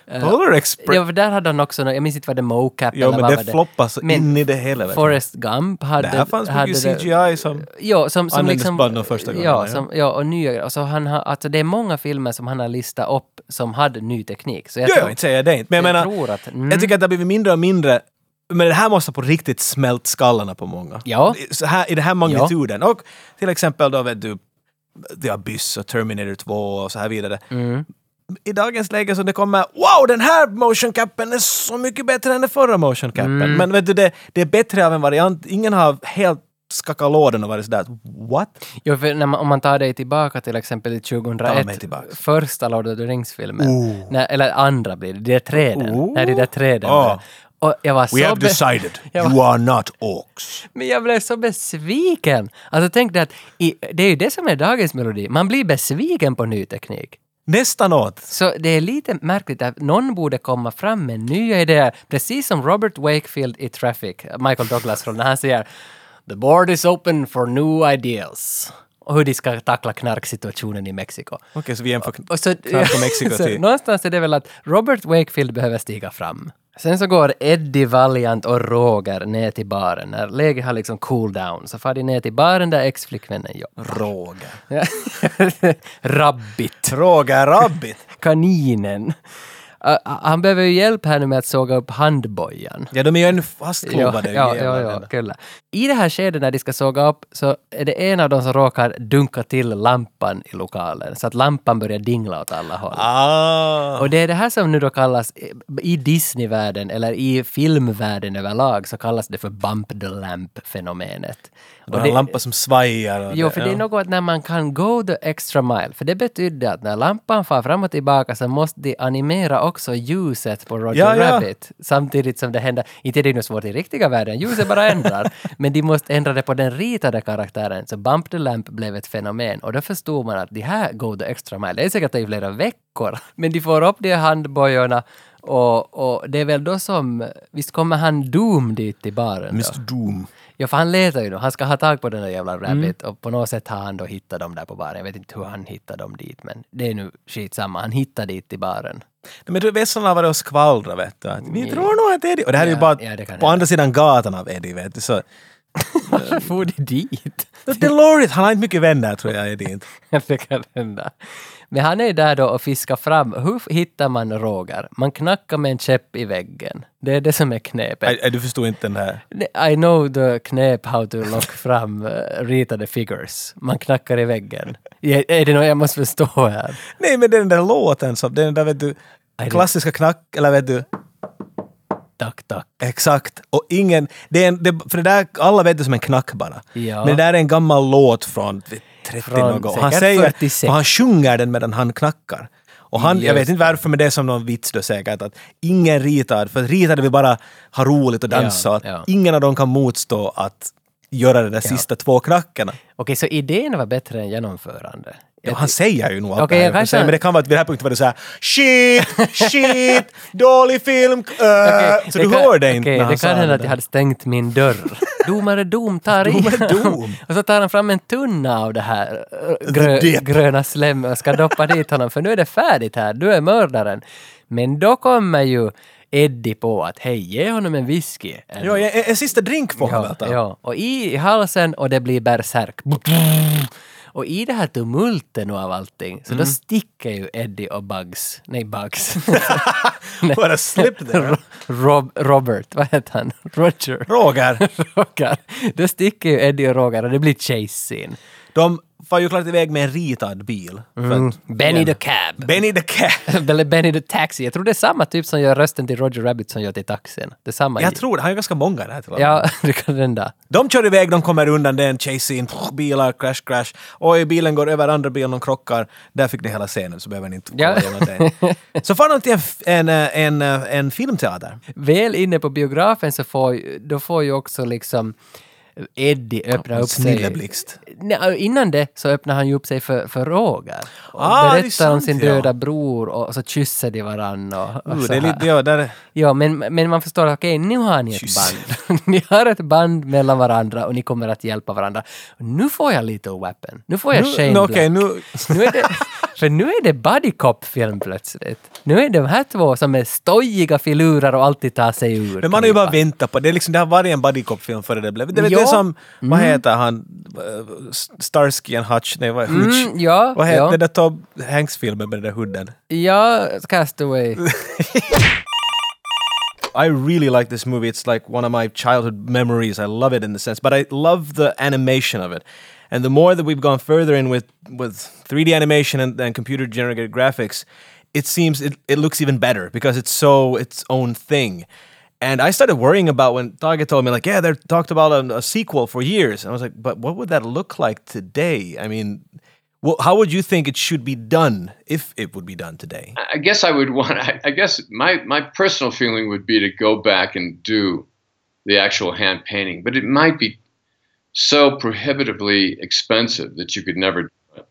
S2: eh,
S1: Polar Express.
S2: Ja, för där hade han också, nå- jag minns inte vad det mocap
S1: Ja,
S2: eller
S1: men
S2: vad
S1: det
S2: var det
S1: floppar så in i det hela. vet du.
S2: Forrest Gump hade...
S1: Det här fanns
S2: hade
S1: mycket
S2: det-
S1: CGI som...
S2: Ja, som, som
S1: Användes
S2: liksom...
S1: bland de första gångerna,
S2: Ja,
S1: ja.
S2: som, ja och nya och så han har, alltså det är många filmer som han har listat upp som hade ny teknik. Så jag
S1: Jo,
S2: tror,
S1: jo, inte säger jag det inte. Men jag,
S2: jag
S1: menar,
S2: tror att- mm.
S1: jag tycker att det har blivit mindre och mindre. Men det här måste på riktigt smält skallarna på många.
S2: Ja.
S1: Så här, I den här magnituden. Och till exempel då vet du, det har Byss och Terminator 2 och så här vidare. I dagens läge så det kommer wow, den här motion capen är så mycket bättre än den förra motion capen. Men vet du, det, det är bättre av en variant. Ingen har helt skakat lådan och varit sådär what?
S2: Jo, för när man, om man tar dig tillbaka till exempel i
S1: Ta mig
S2: 2001,
S1: tillbaka. Oh.
S2: första Lord of the Rings-filmen, när, eller andra blir det, det är träden, när det är där träden
S1: Ah.
S2: där. Och jag var så
S1: We have
S2: be-
S1: decided,
S2: jag var-
S1: you are not orcs.
S2: Men jag blev så besviken! Alltså tänk dig att i, det är ju det som är dagens melodi, man blir besviken på ny teknik.
S1: Nästan åt.
S2: Så det är lite märkligt att någon borde komma fram med nya idéer, precis som Robert Wakefield i Traffic, Michael Douglas roll, när han säger “The board is open for new ideas” och hur de ska tackla knarksituationen i Mexiko.
S1: Okej, så vi jämför
S2: Och så,
S1: knark och Mexiko typ.
S2: så
S1: till.
S2: någonstans är det väl att Robert Wakefield behöver stiga fram. Sen så går Eddie Valiant och Roger ner till baren. När läget har liksom cool down så far de ner till baren där ex-flickvännen jobbar.
S1: Roger.
S2: Rabbit.
S1: Roger Rabbit.
S2: Kaninen. Ä- han behöver ju hjälp här nu med att såga upp handbojan.
S1: Ja, de är ju en fastklubbade
S2: ja, ja,
S1: jävlar.
S2: ja, kulla. I det här skedet när de ska såga upp så är det en av dem som råkar dunka till lampan i lokalen så att lampan börjar dingla åt alla håll.
S1: Ah.
S2: Och det är det här som nu då kallas, eh, i Disneyvärlden eller i filmvärlden överlag, så kallas det för bump the lamp-fenomenet.
S1: Då
S2: Och
S1: har
S2: det-
S1: en lampa som svajar. och
S2: Jo, för det är
S1: ja.
S2: något när man kan go the extra mile, för det betyder att när lampan far fram och tillbaka så måste de animera också ljuset på Roger
S1: Ja, ja.
S2: Rabbit samtidigt som det händer. Inte det är nog svårt i riktiga världen, ljuset bara ändrar, men de måste ändra det på den ritade karaktären. Så Bump the Lamp blev ett fenomen och då förstod man att de här go the extra mile, det är säkert i flera veckor, men de får upp de här handbojorna och, och det är väl då som, visst kommer han Doom dit till baren? Då?
S1: Mr Doom.
S2: Ja, för han letar ju då. Han ska ha tag på den där jävla Rabbit och på något sätt har han då hittat dem där på baren. Jag vet inte hur han hittade dem dit, men det är nu skitsamma. Han hittar dit till baren.
S1: Nej, Men du, vässarna har varit och skvallrat vet du. Att vi
S2: Ja.
S1: tror nog att Eddie... Och det här är
S2: Ja,
S1: ju bara
S2: ja, det kan
S1: på
S2: hända.
S1: andra sidan gatan av Eddie vet du. Så...
S2: Varför for de dit?
S1: Delorit, han har inte mycket vänner tror jag Eddie inte.
S2: det kan hända. Men han är där då och fiskar fram. Hur f- hittar man Roger? Man knackar med en käpp i väggen. Det är det som är knepet.
S1: Nej, Du förstod inte den här.
S2: I, know the knep how to lock fram eh, ritade figures. Man knackar i väggen. Ja, Är det något jag måste förstå här?
S1: Nej men det är den där låten som, det är den där vet du,
S2: det-
S1: klassiska knack, eller vet du,
S2: Tack, tack.
S1: Exakt. Och ingen... Det är en, det, för det där, alla vet det som en knack bara.
S2: Ja.
S1: Men det där är en gammal låt från vet, 30
S2: Från
S1: något. Och han
S2: säkert
S1: säger...
S2: 46.
S1: Och han sjunger den medan han knackar. Och han, jag vet
S2: Just
S1: inte varför, men det är som någon vits då säkert att ingen ritad, för ritade vill bara ha roligt och dansa,
S2: Ja,
S1: och att
S2: ja.
S1: ingen av dem kan motstå att göra de där sista två knackarna.
S2: Okej, så idén var bättre än genomförande?
S1: Ja, han säger ju nog allt
S2: Okej,
S1: det här.
S2: jag kanske-
S1: Men det kan vara att vid den här punkten var det så här shit, shit, dålig film, äh.
S2: Okej,
S1: så du
S2: kan-
S1: hör det inte
S2: okej,
S1: när han
S2: det
S1: sa
S2: kan hända
S1: det
S2: att
S1: där.
S2: jag hade stängt min dörr. Domare Dom tar i.
S1: Domare Dom.
S2: och så tar han fram en tunna av det här eh, grö,
S1: dip.
S2: gröna slem och ska doppa dit honom för nu är det färdigt här, du är mördaren. Men då kommer ju Eddie på att hej, ge honom en whisky. En-
S1: Ja, en, en sista drink får han väl
S2: ja,
S1: ta.
S2: ja, och i halsen och det blir berserk. Och i det här tumulten och av allting,
S1: Mm.
S2: så då sticker ju Eddie och Bugs, nej Bugs,
S1: What a slip there.
S2: Rob, Robert, vad heter han? Roger.
S1: Roger,
S2: Roger. Då sticker ju Eddie och Roger och det blir chase scene.
S1: de far ju klart iväg med en ritad bil.
S2: Mm.
S1: För att
S2: Benny the Cab.
S1: Benny the Cat.
S2: Eller Benny the Taxi. Jag tror det är samma typ som gör rösten till Roger Rabbit som gör till taxin. Det är samma.
S1: Jag tror det, han är ganska många där till och med.
S2: Ja, det kan hända.
S1: De kör iväg, de kommer undan, det är en chase scene, pff, bilar, crash, crash. Oj, bilen går över andra bilen, de krockar. Där fick ni hela scenen, så behöver ni inte kolla
S2: Ja.
S1: igenom det. Så far de till en, f- en, eh, en, eh, en filmteater.
S2: Väl inne på biografen så får, ju- då får ju också liksom Eddie öppna upp sig.
S1: Snilleblixt.
S2: Nej, innan det så öppnar han ju upp sig för, för Roger. Och
S1: Ah, det är
S2: berättar om
S1: sant,
S2: sin
S1: ja.
S2: döda bror och så kysser de varandra. Och, och
S1: Uh,
S2: så
S1: det är
S2: här.
S1: lite, ja, där,
S2: Ja, men, men man förstår att okej, nu har ni ett
S1: Kyss.
S2: band. ni har ett band mellan varandra och ni kommer att hjälpa varandra. Nu får jag lite Wappen. Nu får jag
S1: Nu-
S2: Shane
S1: nu- okej,
S2: Black.
S1: nu-
S2: nu är det, För nu är det Buddy Cop-film plötsligt. Nu är de här två som är stojiga filurer och alltid tar sig ur.
S1: Men man har ju bara
S2: knipan.
S1: väntat på det. är Liksom, det har varit en buddy cop-film före det blev. Det, vet, det
S2: Ja. Mm.
S1: är som, vad heter han, eh, Starsky and Hutch, nej vad, Hutch.
S2: Mm, ja,
S1: vad heter
S2: ja.
S1: den där Tom Hanks-filmen med den där hunden?
S2: Ja, Castaway.
S1: I really like this movie. It's like one of my childhood memories. I love it in the sense, but I love the animation of it. And the more that we've gone further in with, with 3D animation and, and computer generated graphics, it seems it, it looks even better because it's so its own thing. And I started worrying about when Tage told me, like, yeah, they talked about a, a sequel for years. And I was like, but what would that look like today? I mean, well, how would you think it should be done if it would be done today?
S4: I guess I would want. I, I guess my my personal feeling would be to go back and do the actual hand painting, but it might be so prohibitively expensive that you could never. Do it.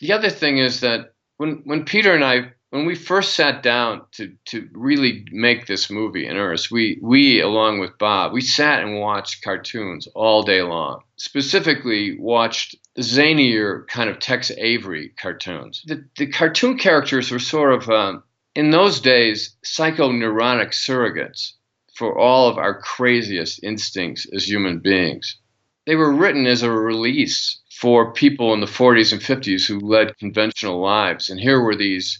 S4: The other thing is that when when Peter and I when we first sat down to to really make this movie in earnest, we we along with Bob, we sat and watched cartoons all day long. Specifically, watched zanier kind of Tex Avery cartoons. The the cartoon characters were sort of um, in those days psychoneurotic surrogates for all of our craziest instincts as human beings. They were written as a release for people in the 40s and 50s who led conventional lives, and here were these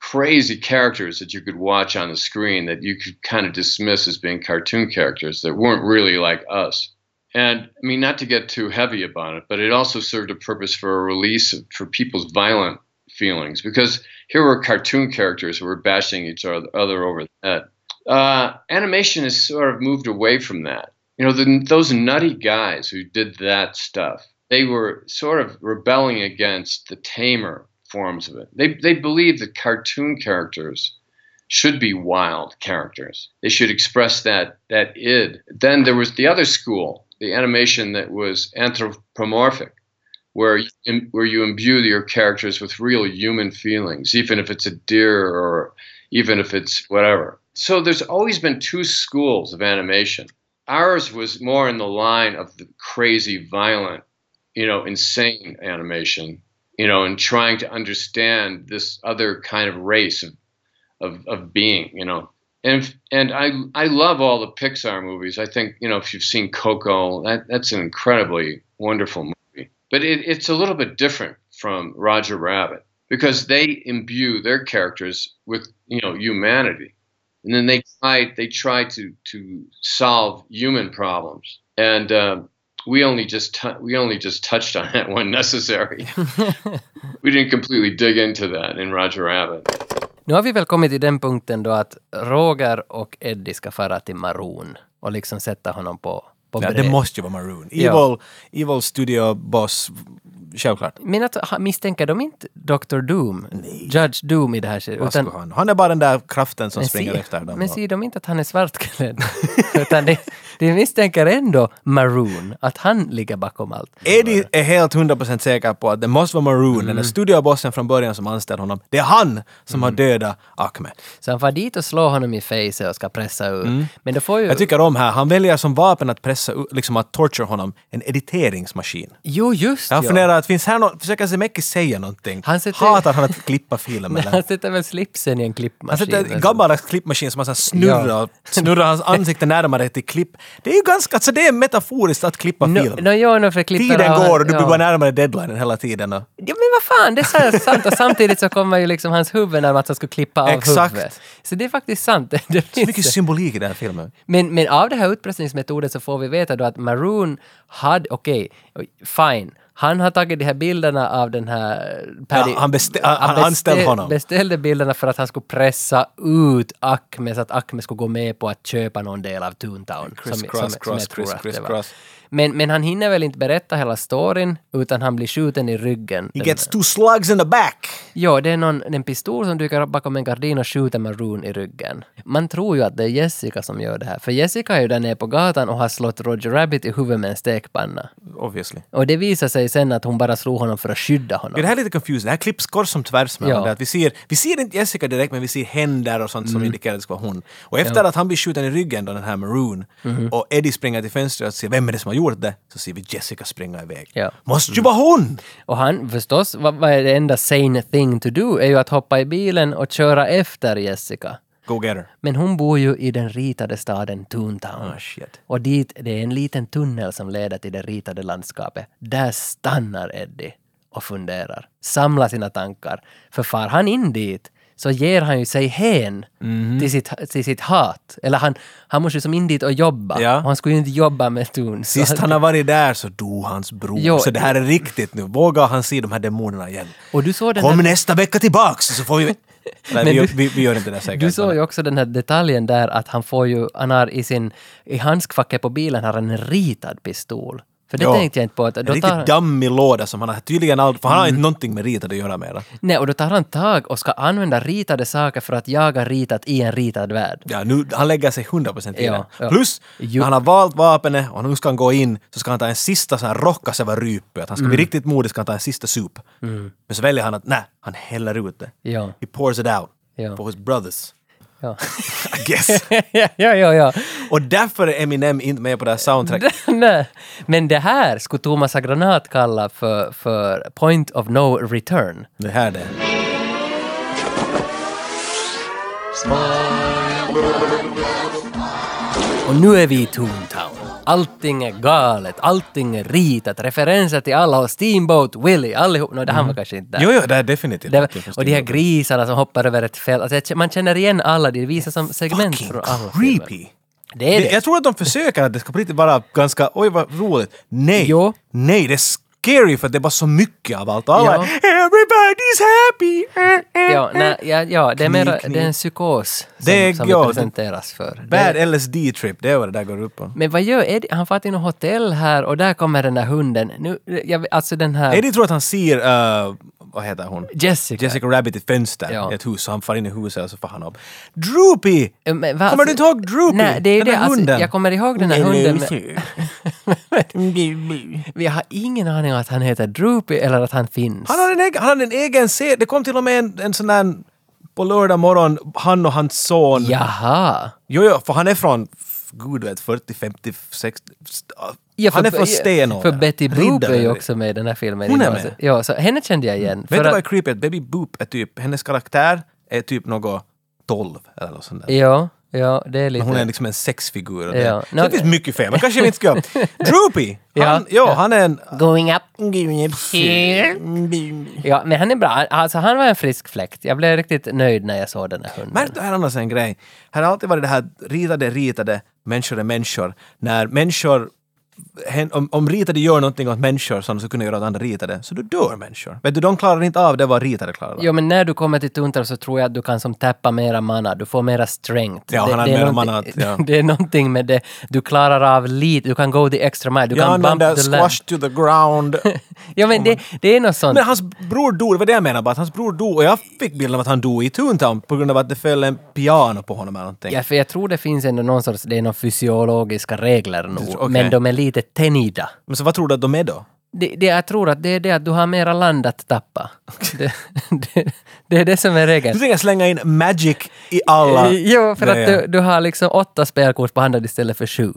S4: crazy characters that you could watch on the screen that you could kind of dismiss as being cartoon characters that weren't really like us. And I mean, not to get too heavy about it, but it also served a purpose for a release of, for people's violent feelings because here were cartoon characters who were bashing each other, other over the head. Uh, animation has sort of moved away from that. You know, the, those nutty guys who did that stuff, they were sort of rebelling against the tamer forms of it. They, they believe that cartoon characters should be wild characters. They should express that that id. Then there was the other school, the animation that was anthropomorphic, where you, where you imbue your characters with real human feelings, even if it's a deer or even if it's whatever. So there's always been two schools of animation. Ours was more in the line of the crazy, violent, you know, insane animation you know, and trying to understand this other kind of race of, of, of being, you know. And and I I love all the Pixar movies. I think you know if you've seen Coco, that, that's an incredibly wonderful movie. But it, it's a little bit different from Roger Rabbit because they imbue their characters with you know humanity, and then they try they try to to solve human problems. And um, we only just t- we only just touched on that when necessary. we didn't completely dig into that in Roger Rabbit.
S2: Nu har vi väl kommit till den punkten då att Roger och Eddie ska fara till Maroon och liksom sätta honom på, på
S1: Ja,
S2: bred.
S1: det måste ju vara Maroon. Evil,
S2: Ja.
S1: evil Studio Boss, självklart.
S2: Men att, ha- misstänker de inte Dr. Doom, Judge Doom i det här skedet?
S1: Vad skulle han? han är bara den där kraften som springer
S2: ser,
S1: efter dem.
S2: Men
S1: och-
S2: ser de inte att han är svartklädd? Utan de, de misstänker ändå Maroon, att han ligger bakom allt.
S1: Eddie är helt 100% säker på att det måste vara Maroon, den där studiobossen från början som anställde honom. Det är han som har dödat Ahmed.
S2: Så han far dit och slår honom i face och ska pressa ur. Men då får ju...
S1: Mm. Jag tycker om här, han väljer som vapen att pressa, u- liksom att torture honom, en editeringsmaskin.
S2: Jo, just
S1: Jag
S2: ja.
S1: funderar att finns här någon, försöker Zemeckis säga någonting?
S2: Han sätter-
S1: Hatar han att klippa film
S2: Men
S1: eller?
S2: han sätter väl slipsen i en
S1: Han
S2: klippmaskin? Alltså,
S1: sätter en gammal klippmaskin som han så här snurrar,
S2: Ja.
S1: snurrar hans ansikte närmare till klipp. Det är ju ganska, alltså det är metaforiskt att klippa
S2: No,
S1: film.
S2: no, jo, no, för klipparna
S1: Tiden
S2: har-
S1: går och du blir
S2: ja.
S1: bara närmare deadlinen hela tiden. Och...
S2: Ja, men vad fan, det är så här sant. Och samtidigt så kommer ju liksom hans huvud när man ska klippa av
S1: Exakt.
S2: huvudet. Så det är faktiskt sant. Det, det
S1: Så
S2: finns
S1: mycket symbolik i den här filmen.
S2: Men, men av den här utpressningsmetoden så får vi veta då att Maroon hade, okej, fine, han har tagit de här bilderna av den här eh, Paddy.
S1: Ja, han bestä- han- han anställde honom.
S2: Beställde bilderna för att han skulle pressa ut Acme så att Acme skulle gå med på att köpa någon del av Toontown.
S1: Criss cross, cross,
S2: jag tror
S1: criss,
S2: att det
S1: criss
S2: var.
S1: cross.
S2: Men, men han hinner väl inte berätta hela storyn utan han blir skjuten i ryggen.
S1: He gets two slugs in the back.
S2: Ja, det är någon, en pistol som dyker upp bakom en gardin och skjuter Maroon i ryggen. Man tror ju att det är Jessica som gör det här, för Jessica är ju där nere på gatan och har slått Roger Rabbit i huvudet med en stekpanna.
S1: Obviously.
S2: Och det visar sig sen att hon bara slog honom för att skydda honom.
S1: Det här är lite confusing. Det här klipps kors som tvärs med
S2: Ja.
S1: varandra. att vi ser, vi ser inte Jessica direkt, men vi ser händer och sånt
S2: Mm.
S1: som indikerar att det ska vara hon. Och efter att han blir skjuten i ryggen, då, den här Maroon,
S2: Mhm.
S1: och Eddie springer till fönstret och ser vem är det som har gjort det, så ser vi Jessica springa iväg.
S2: Ja.
S1: Måste ju vara hon!
S2: Och han, förstås, vad, vad är det enda sane thing to do är ju att hoppa i bilen och köra efter Jessica.
S1: Go get her.
S2: Men hon bor ju i den ritade staden Toontown.
S1: Ah, shit.
S2: Och dit, det är en liten tunnel som leder till det ritade landskapet. Där stannar Eddie och funderar, samlar sina tankar. För far han in dit så ger han ju sig hän
S1: Mhm.
S2: till, sitt, till sitt hat. Eller han, han måste ju som in dit och jobba.
S1: Ja.
S2: Och han skulle ju inte jobba med Toon. så
S1: Sist
S2: att-
S1: han har varit där så dog hans bror.
S2: Jo.
S1: Så det här är riktigt nu. Vågar han se de här demonerna igen?
S2: Och du såg den
S1: Kom
S2: här-
S1: nästa vecka tillbaks så får vi... Nej,
S2: Men
S1: vi, gör-
S2: du-
S1: vi, vi gör inte det säkert.
S2: Du såg ju också den här detaljen där att han får ju, han har i sin, i handskfacket på bilen har han en ritad pistol. För det
S1: Ja.
S2: tänkte jag inte på. Att
S1: En
S2: då
S1: riktigt
S2: tar, Mm.
S1: dammig låda som han har tydligen aldrig... För han har inte någonting med ritet att göra mera.
S2: nej, och då tar han tag och ska använda ritade saker för att jaga ritat i en ritad värld.
S1: Ja, nu, han lägger sig 100% i
S2: Ja,
S1: det.
S2: ja.
S1: Plus,
S2: Jo.
S1: när han har valt vapnet och nu ska han gå in så ska han ta en sista sån här rocka sig över rypet. Han ska
S2: Mm.
S1: bli riktigt modig ska han ta en sista sup. Men så väljer han att nej, han häller ut det.
S2: Ja.
S1: He pours it out.
S2: Ja.
S1: På his brothers.
S2: Ja,
S1: I guess.
S2: ja, ja, ja. ja.
S1: och därför är Eminem inte med på det här soundtracket.
S2: Nej. Men det här skulle Thomas Agranat kalla för, för point of no return.
S1: Det här det.
S2: Och nu är vi i Toontown. Allting är galet, allting är ritat, referenser till alla och Steamboat Willie, allihop. Nå, det han var kanske inte där.
S1: Jo, jo, det är definitivt.
S2: Det,
S1: Jag förstår
S2: och de här
S1: det.
S2: grisarna som hoppar över ett fält. Alltså, jag k- man känner igen alla, de visar som segment
S1: Fucking
S2: från alla filmer.
S1: creepy.
S2: Det är
S1: Det-
S2: det.
S1: Jag tror att de försöker att det ska på riktigt vara ganska, oj vad roligt. Nej,
S2: Jo.
S1: nej, det är scary för att det är bara så mycket av allt. Alla,
S2: Ja.
S1: Everybody's happy! Eh, eh,
S2: Ja,
S1: eh.
S2: nej, ja, ja, det, är
S1: Kniv,
S2: mera,
S1: kniv.
S2: det är en psykos som,
S1: Det är-
S2: som
S1: ja,
S2: vi
S1: det-
S2: presenteras för.
S1: Bad
S2: Det-
S1: LSD-trip, det är vad det där går upp på.
S2: men vad gör Eddie? Han far till något hotell här och där kommer den där hunden. Nu, jag, alltså den här...
S1: Eddie tror att han ser, eh, vad heter hon?
S2: Jessica.
S1: Jessica Rabbit i ett fönster
S2: Ja.
S1: i ett hus, så han far in i huset och så far han upp. Droopy!
S2: Eh, men vad-
S1: Kommer du inte ihåg Droopy?
S2: Nej, det är ju
S1: Den
S2: det.
S1: där
S2: Alltså,
S1: hunden.
S2: jag kommer ihåg den här
S1: Eller
S2: hunden.
S1: hur?
S2: Men, vi har ingen aning om att han heter Droopy eller att han finns.
S1: Han hade en egen, han hade en egen serie, det kom till och med en, en sån där på lördag morgon, han och hans son.
S2: Jaha.
S1: Jo, jo, för han är från, f- gud vet, 40, 50, 60... st- han är från Stenåker.
S2: För Betty Boop är
S1: Riddare.
S2: ju också med i den här filmen.
S1: Hon är
S2: Alltså,
S1: med.
S2: Ja, så henne kände jag igen.
S1: Vet
S2: För
S1: du
S2: att-
S1: vad är creepy? Att Baby Boop är typ, hennes karaktär är typ något 12 eller något sånt där.
S2: Ja, ja, det är lite...
S1: Hon är liksom en sexfigur. och
S2: Ja.
S1: Det. Så
S2: Nå-
S1: det finns mycket fel, men kanske vi inte ska... Droopy! Han,
S2: Ja,
S1: ja, han är en...
S2: Going up here. Ja, men han är bra. Alltså, han var en frisk fläkt. Jag blev riktigt nöjd när jag såg den här hunden.
S1: Märkte du här annars en grej? Här har alltid varit det här ritade, ritade, människor är människor. När människor hen- om, om ritade gör någonting åt människor som de skulle kunna göra åt andra ritade, så då dör människor. Vet du, de klarar inte av det vad ritade klarar av.
S2: Jo, men när du kommer till Tuntar så tror jag att du kan som tappa mera mana. Du får mera strength.
S1: Ja, han har
S2: är
S1: mera
S2: någonting-
S1: mana, ja.
S2: det är någonting med det. Du klarar av lite. Du kan go the extra mile. Du
S1: Jag
S2: kan bump
S1: använder
S2: the lamp.
S1: squash to the ground.
S2: Ja, men det, det är något sånt.
S1: Men hans bror dog, det var det jag menade bara, att hans bror dog och jag fick bilden av att han dog i Toontown på grund av att det föll en piano på honom eller någonting.
S2: Ja, för jag tror det finns ändå någon sorts, det är någon fysiologiska regler nog,
S1: tror- okej.
S2: men de är lite tänjda.
S1: Men så vad tror du att de är då?
S2: Det, det, jag tror att det är det att du har mera land att tappa. Det, det, det är det som är
S1: Du
S2: regeln.
S1: tänker slänga in magic i alla...
S2: Eh, Jo, för att
S1: grejer.
S2: du, du har liksom åtta spelkort på handen istället för sju.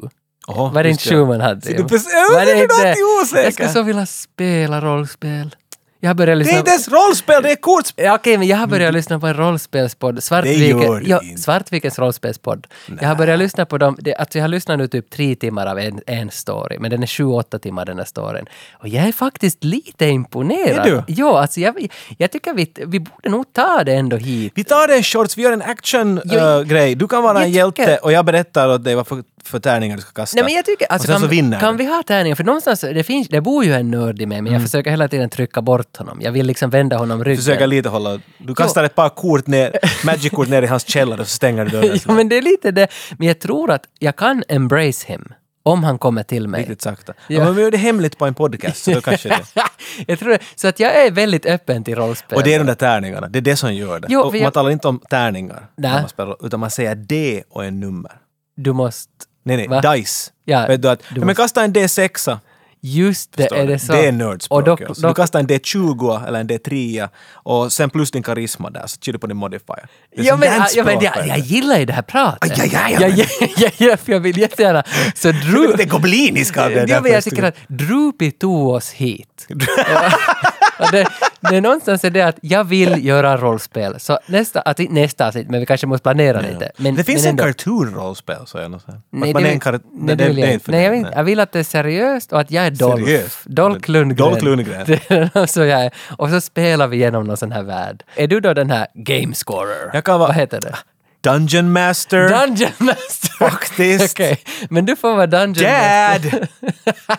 S1: Oho,
S2: Var det
S1: Oh, just
S2: inte sju man hade?
S1: Så du precis- Ja, men du låter ju osäker.
S2: Jag skulle så vilja spela rollspel. Jag börjar
S1: Det är
S2: lyssna...
S1: inte ens rollspel, det är kortspel!
S2: Ja, okej, men jag har börjat lyssna på en rollspelspodd.
S1: gör
S2: Svartviken,
S1: det
S2: ja,
S1: inte.
S2: Svartvikens rollspelspodd. Jag har börjat lyssna på dem. Det, alltså jag har lyssnat nu typ tre timmar av en, en story, men den är sju, åtta timmar den här storyn. Och jag är faktiskt lite imponerad.
S1: Är du?
S2: Ja, alltså jag, jag tycker vi, vi borde nog ta det ändå hit.
S1: Vi tar en shorts, vi gör en
S2: Jo,
S1: action-grej. du kan vara
S2: jag
S1: en hjälte
S2: tycker-
S1: och jag berättar åt dig vad för, för tärningar du ska kasta.
S2: Nej, men jag tycker, alltså,
S1: och sen så
S2: kan,
S1: vinner
S2: kan
S1: du. Mm.
S2: vi ha tärningar? För någonstans, det, finns, det bor ju en nörd i mig, men jag försöker hela tiden trycka bort honom. Jag vill liksom vända honom ryggen.
S1: Försöka lite hålla... Du kastar ett par kort ner, magic-kort ner i hans källare och så stänger du dörren.
S2: ja, men det är lite det. Men jag tror att jag kan embrace him. Om han kommer till mig.
S1: Riktigt sakta.
S2: Ja.
S1: Ja. men vi gör det hemligt på en podcast, så då kanske det...
S2: jag tror det. Så att jag är väldigt öppen till rollspel.
S1: Och det är de där tärningarna, det är det som gör det.
S2: Jo,
S1: och
S2: för
S1: man
S2: jag-
S1: talar inte om tärningar,
S2: Nej.
S1: när man spelar, utan man säger det och en nummer.
S2: Du måste...
S1: Nej, nej,
S2: Va?
S1: dice.
S2: Ja,
S1: Vet du att,
S2: du
S1: men
S2: måste-
S1: kasta en D6a.
S2: Just det,
S1: Förstår
S2: är
S1: du?
S2: det så?
S1: Det är nördspråk.
S2: Och dock,
S1: ja. Så du
S2: dock,
S1: kastar en D20 eller en D3 och sen plus din karisma där så kör du på din modifier. Det är
S2: ja,
S1: sånt
S2: men,
S1: där
S2: ja, men
S1: språk,
S2: jag,
S1: vet
S2: jag
S1: du.
S2: gillar ju det här pratet.
S1: Aj, aj, aj,
S2: jag,
S1: aj.
S2: jag, jag, för jag vill jättegärna... Så
S1: Det är
S2: Drew...
S1: lite gobliniska av det
S2: Ja,
S1: där
S2: men jag
S1: först.
S2: tycker att Droopy tog oss hit. Ja. Och det, det är någonstans är det att jag vill göra rollspel. Så nästa, att, nästa avsnitt, men vi kanske måste planera lite. Men,
S1: det finns
S2: men
S1: en kartonrollspel, sa jag något sånt. Att man
S2: det
S1: är
S2: vill-
S1: en kar-
S2: nej, det vill jag inte. Nej, jag, vill, jag vill att det är seriöst och att jag är Dolph.
S1: Seriöst?
S2: Dolph Lundgren.
S1: Dolph Lundgren.
S2: Det är så jag är. Och så spelar vi igenom någon sån här värld. Är du då den här game scorer?
S1: Jag kan vara-
S2: Vad heter det?
S1: Dungeon Master.
S2: Dungeon Master!
S1: Faktiskt.
S2: Okej, men du får vara Dungeon Master.
S1: Dad!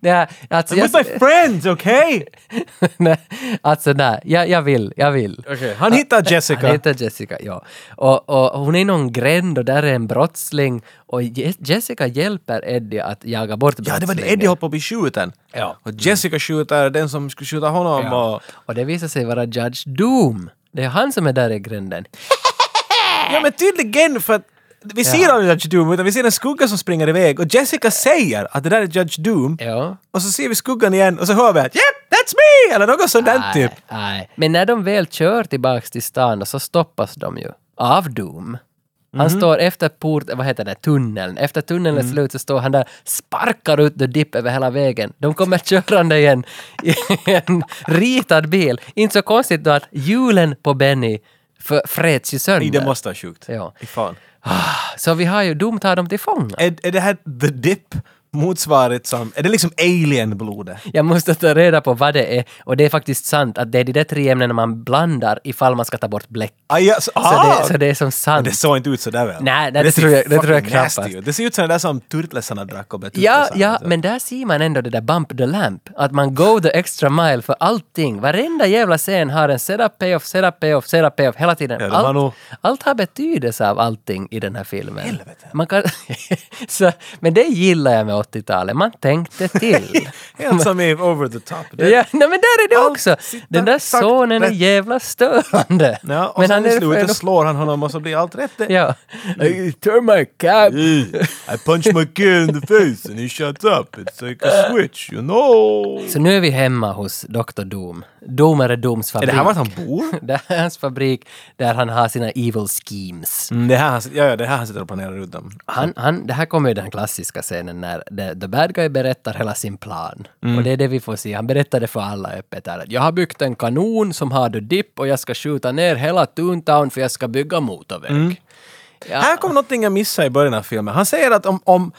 S2: Ja, alltså,
S1: With my friends, okej?
S2: nej, alltså nej, jag, jag vill, jag vill.
S1: Han hittar Jessica.
S2: Han heter Jessica, ja. Och, och hon är i någon gränd och där är en brottsling och Je- Jessica hjälper Eddie att jaga bort
S1: Ja,
S2: brottslingen.
S1: det var det. Eddie höll på att bli skjuten.
S2: Ja.
S1: Och Jessica skjuter den som skulle skjuta honom och...
S2: Och det visar sig vara Judge Doom. Det är han som är där i gränden.
S1: Ja, men tydligen för att vi ser aldrig Judge Doom, utan vi ser en skugga som springer iväg och Jessica säger att det där är Judge Doom.
S2: Ja.
S1: Och så ser vi skuggan igen och så hör vi att “Yep, that's me!” eller något sånt där typ.
S2: Nej, nej. Men när de väl kör tillbaks till stan då, så stoppas de ju av Doom. Han
S1: Mhm.
S2: står efter port, vad heter det, tunneln. Efter tunneln är
S1: Mm.
S2: slut så står han där, sparkar ut The Dip över hela vägen. De kommer körande i en, i en ritad bil. Inte så konstigt då att hjulen på Benny för, freds ju sönder.
S1: Nej, det måste vara sjukt.
S2: Ja.
S1: Fy fan.
S2: Så vi har ju, Doom tar dem till fånga.
S1: Är, är det här the dip motsvaret som... Är det liksom alien-blodet?
S2: Jag måste ta reda på vad det är. Och det är faktiskt sant att det är de där tre ämnena man blandar ifall man ska ta bort bläck.
S1: Ah, ja, så,
S2: Så,
S1: ah!
S2: det, så det är som sant.
S1: det såg inte ut sådär väl?
S2: Nej, nej, det
S1: ser
S2: tror jag- det tror jag
S1: fucking nasty
S2: knappast.
S1: ut. Det ser ut som det där som turtlesarna drack och blev
S2: Ja,
S1: turtlesarna.
S2: ja, men där ser man ändå det där bump the lamp. Att man go the extra mile för allting. Varenda jävla scen har en setup, payoff, setup, payoff, setup, payoff hela tiden.
S1: Ja, det var
S2: allt,
S1: nog-
S2: allt har betydelse av allting i den här filmen. Helvete. Man kan, så, men det gillar jag med 80-talet. Man tänkte till.
S1: Helt som i Over the Top. Det,
S2: Ja, nej men där är det
S1: Allt
S2: också!
S1: sitter
S2: Den där
S1: exakt
S2: sonen är
S1: rätt.
S2: jävla störande.
S1: ja, och sen i slutet slår han honom och så blir allt rätt. Det-
S2: Ja. I turn my cap!
S1: I punched my kid in the face and he shuts up. It's like a switch, you know.
S2: Så nu är vi hemma hos Dr. Doom. Domare Dooms
S1: Är
S2: fabrik.
S1: det här vart han bor?
S2: Det här är hans fabrik där han har sina evil schemes.
S1: Mm, det, här, han- ja, ja, det här han sitter och planerar ut dem.
S2: Han, han, det här kommer ju den klassiska scenen när the, the bad guy berättar hela sin plan.
S1: Mm.
S2: Och det är det vi får se. Han berättade för alla öppet här att jag har byggt en kanon som har the dip och jag ska skjuta ner hela Toontown för jag ska bygga motorväg.
S1: Mm.
S2: Ja.
S1: Här kom någonting jag missade i början av filmen. Han säger att om, om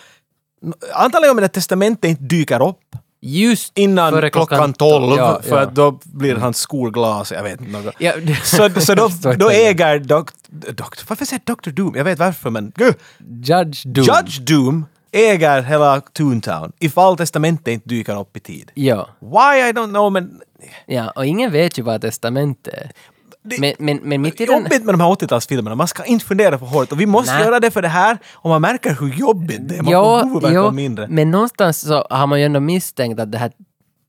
S1: antagligen om det testamentet inte dyker upp
S2: Just
S1: innan
S2: före
S1: klockan tolv,
S2: Ja,
S1: för
S2: ja.
S1: att då blir hans skolglas, jag vet inte något.
S2: Ja, det-
S1: Så, så då,
S2: jag förstår
S1: då
S2: inte.
S1: äger dokt, dokt, varför säger jag Dr. Doom? Jag vet varför men... Gud,
S2: Judge Doom.
S1: Judge Doom äger hela Toontown ifall testamentet inte dyker upp i tid.
S2: Ja.
S1: Why I don't know men...
S2: ja, och ingen vet ju vad testamentet är. Men, men, men mitt i den...
S1: Jobbigt med de här 80-talsfilmerna, man ska inte fundera för hårt och vi måste
S2: Nej.
S1: göra det för det här och man märker hur jobbigt det är, man får huvudvärk och "Oh, mindre.
S2: men någonstans så har man ju ändå misstänkt att det här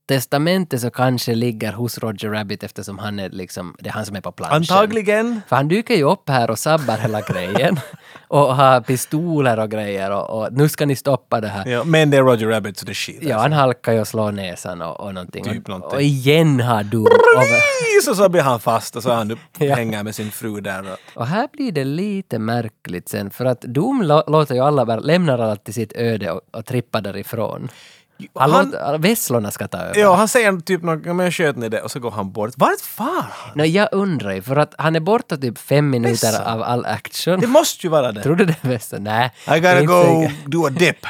S2: testamentet så kanske ligger hos Roger Rabbit eftersom han är liksom, det är han som är på planschen.
S1: Antagligen.
S2: För han dyker ju upp här och sabbar hela grejen. och har pistoler och grejer och, och nu ska ni stoppa det här.
S1: Ja, men det är Roger Rabbit så det är shit.
S2: Ja, han halkar ju och slår näsan och, och någonting.
S1: Typ
S2: Och-
S1: någonting.
S2: Och igen har Doom... över-
S1: Precis! Och alltså. så blir han fast och så är han
S2: Ja.
S1: hänger med sin fru där. Och,
S2: Och här blir det lite märkligt sen, för att Doom lo- låter ju alla bara, lämnar alla till sitt öde och, och trippar därifrån. Han,
S1: han-
S2: låter, vesslorna ska ta över.
S1: ja, han säger typ något, "Ja, men jag sköt ner det och så går han bort. Vart far han?
S2: Nej, jag undrar ju, för att han är borta typ fem minuter
S1: Vessa.
S2: av all action.
S1: Det måste ju vara det.
S2: Tror du det är Vessa? Nej.
S1: I
S2: det är
S1: gotta
S2: inte
S1: go
S2: så-
S1: do a dip.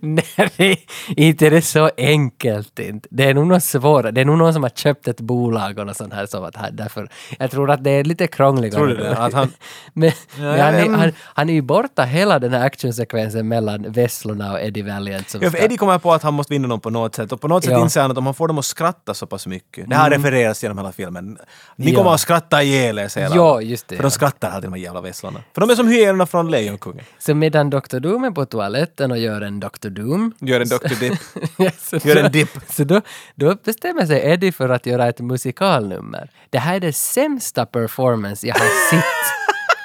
S2: Nej, det är inte det är så enkelt inte. Det är nog något svårare. Det är nog någon som har köpt ett bolag och något sånt här. Som att, han- därför, jag tror att det är lite krångligare.
S1: Tror du det? Att han-
S2: men men han,
S1: mm.
S2: är, han, han är ju borta hela den här actionsekvensen mellan vesslorna och Eddie Valiant. Som
S1: Ja, för Eddie kommer på att han måste vinna dem på något sätt och på något sätt
S2: Ja. Mm.
S1: inser han att om han får dem att skratta så pass mycket. Det här refereras genom hela filmen. Ni
S2: Ja.
S1: kommer att skratta ihjäl er, säger han.
S2: Ja, just det,
S1: För
S2: ja.
S1: de skrattar alltid de här jävla vesslorna. För de är som hyenorna från Lejonkungen.
S2: Så medan Dr. Doom är på toaletten och gör en Dr. Doom
S1: Gör en Dr. Dip.
S2: Ja, så
S1: Gör en
S2: då-
S1: dipp.
S2: Så då, då bestämmer sig Eddie för att göra ett musikalnummer. Det här är det sämsta performance jag har sett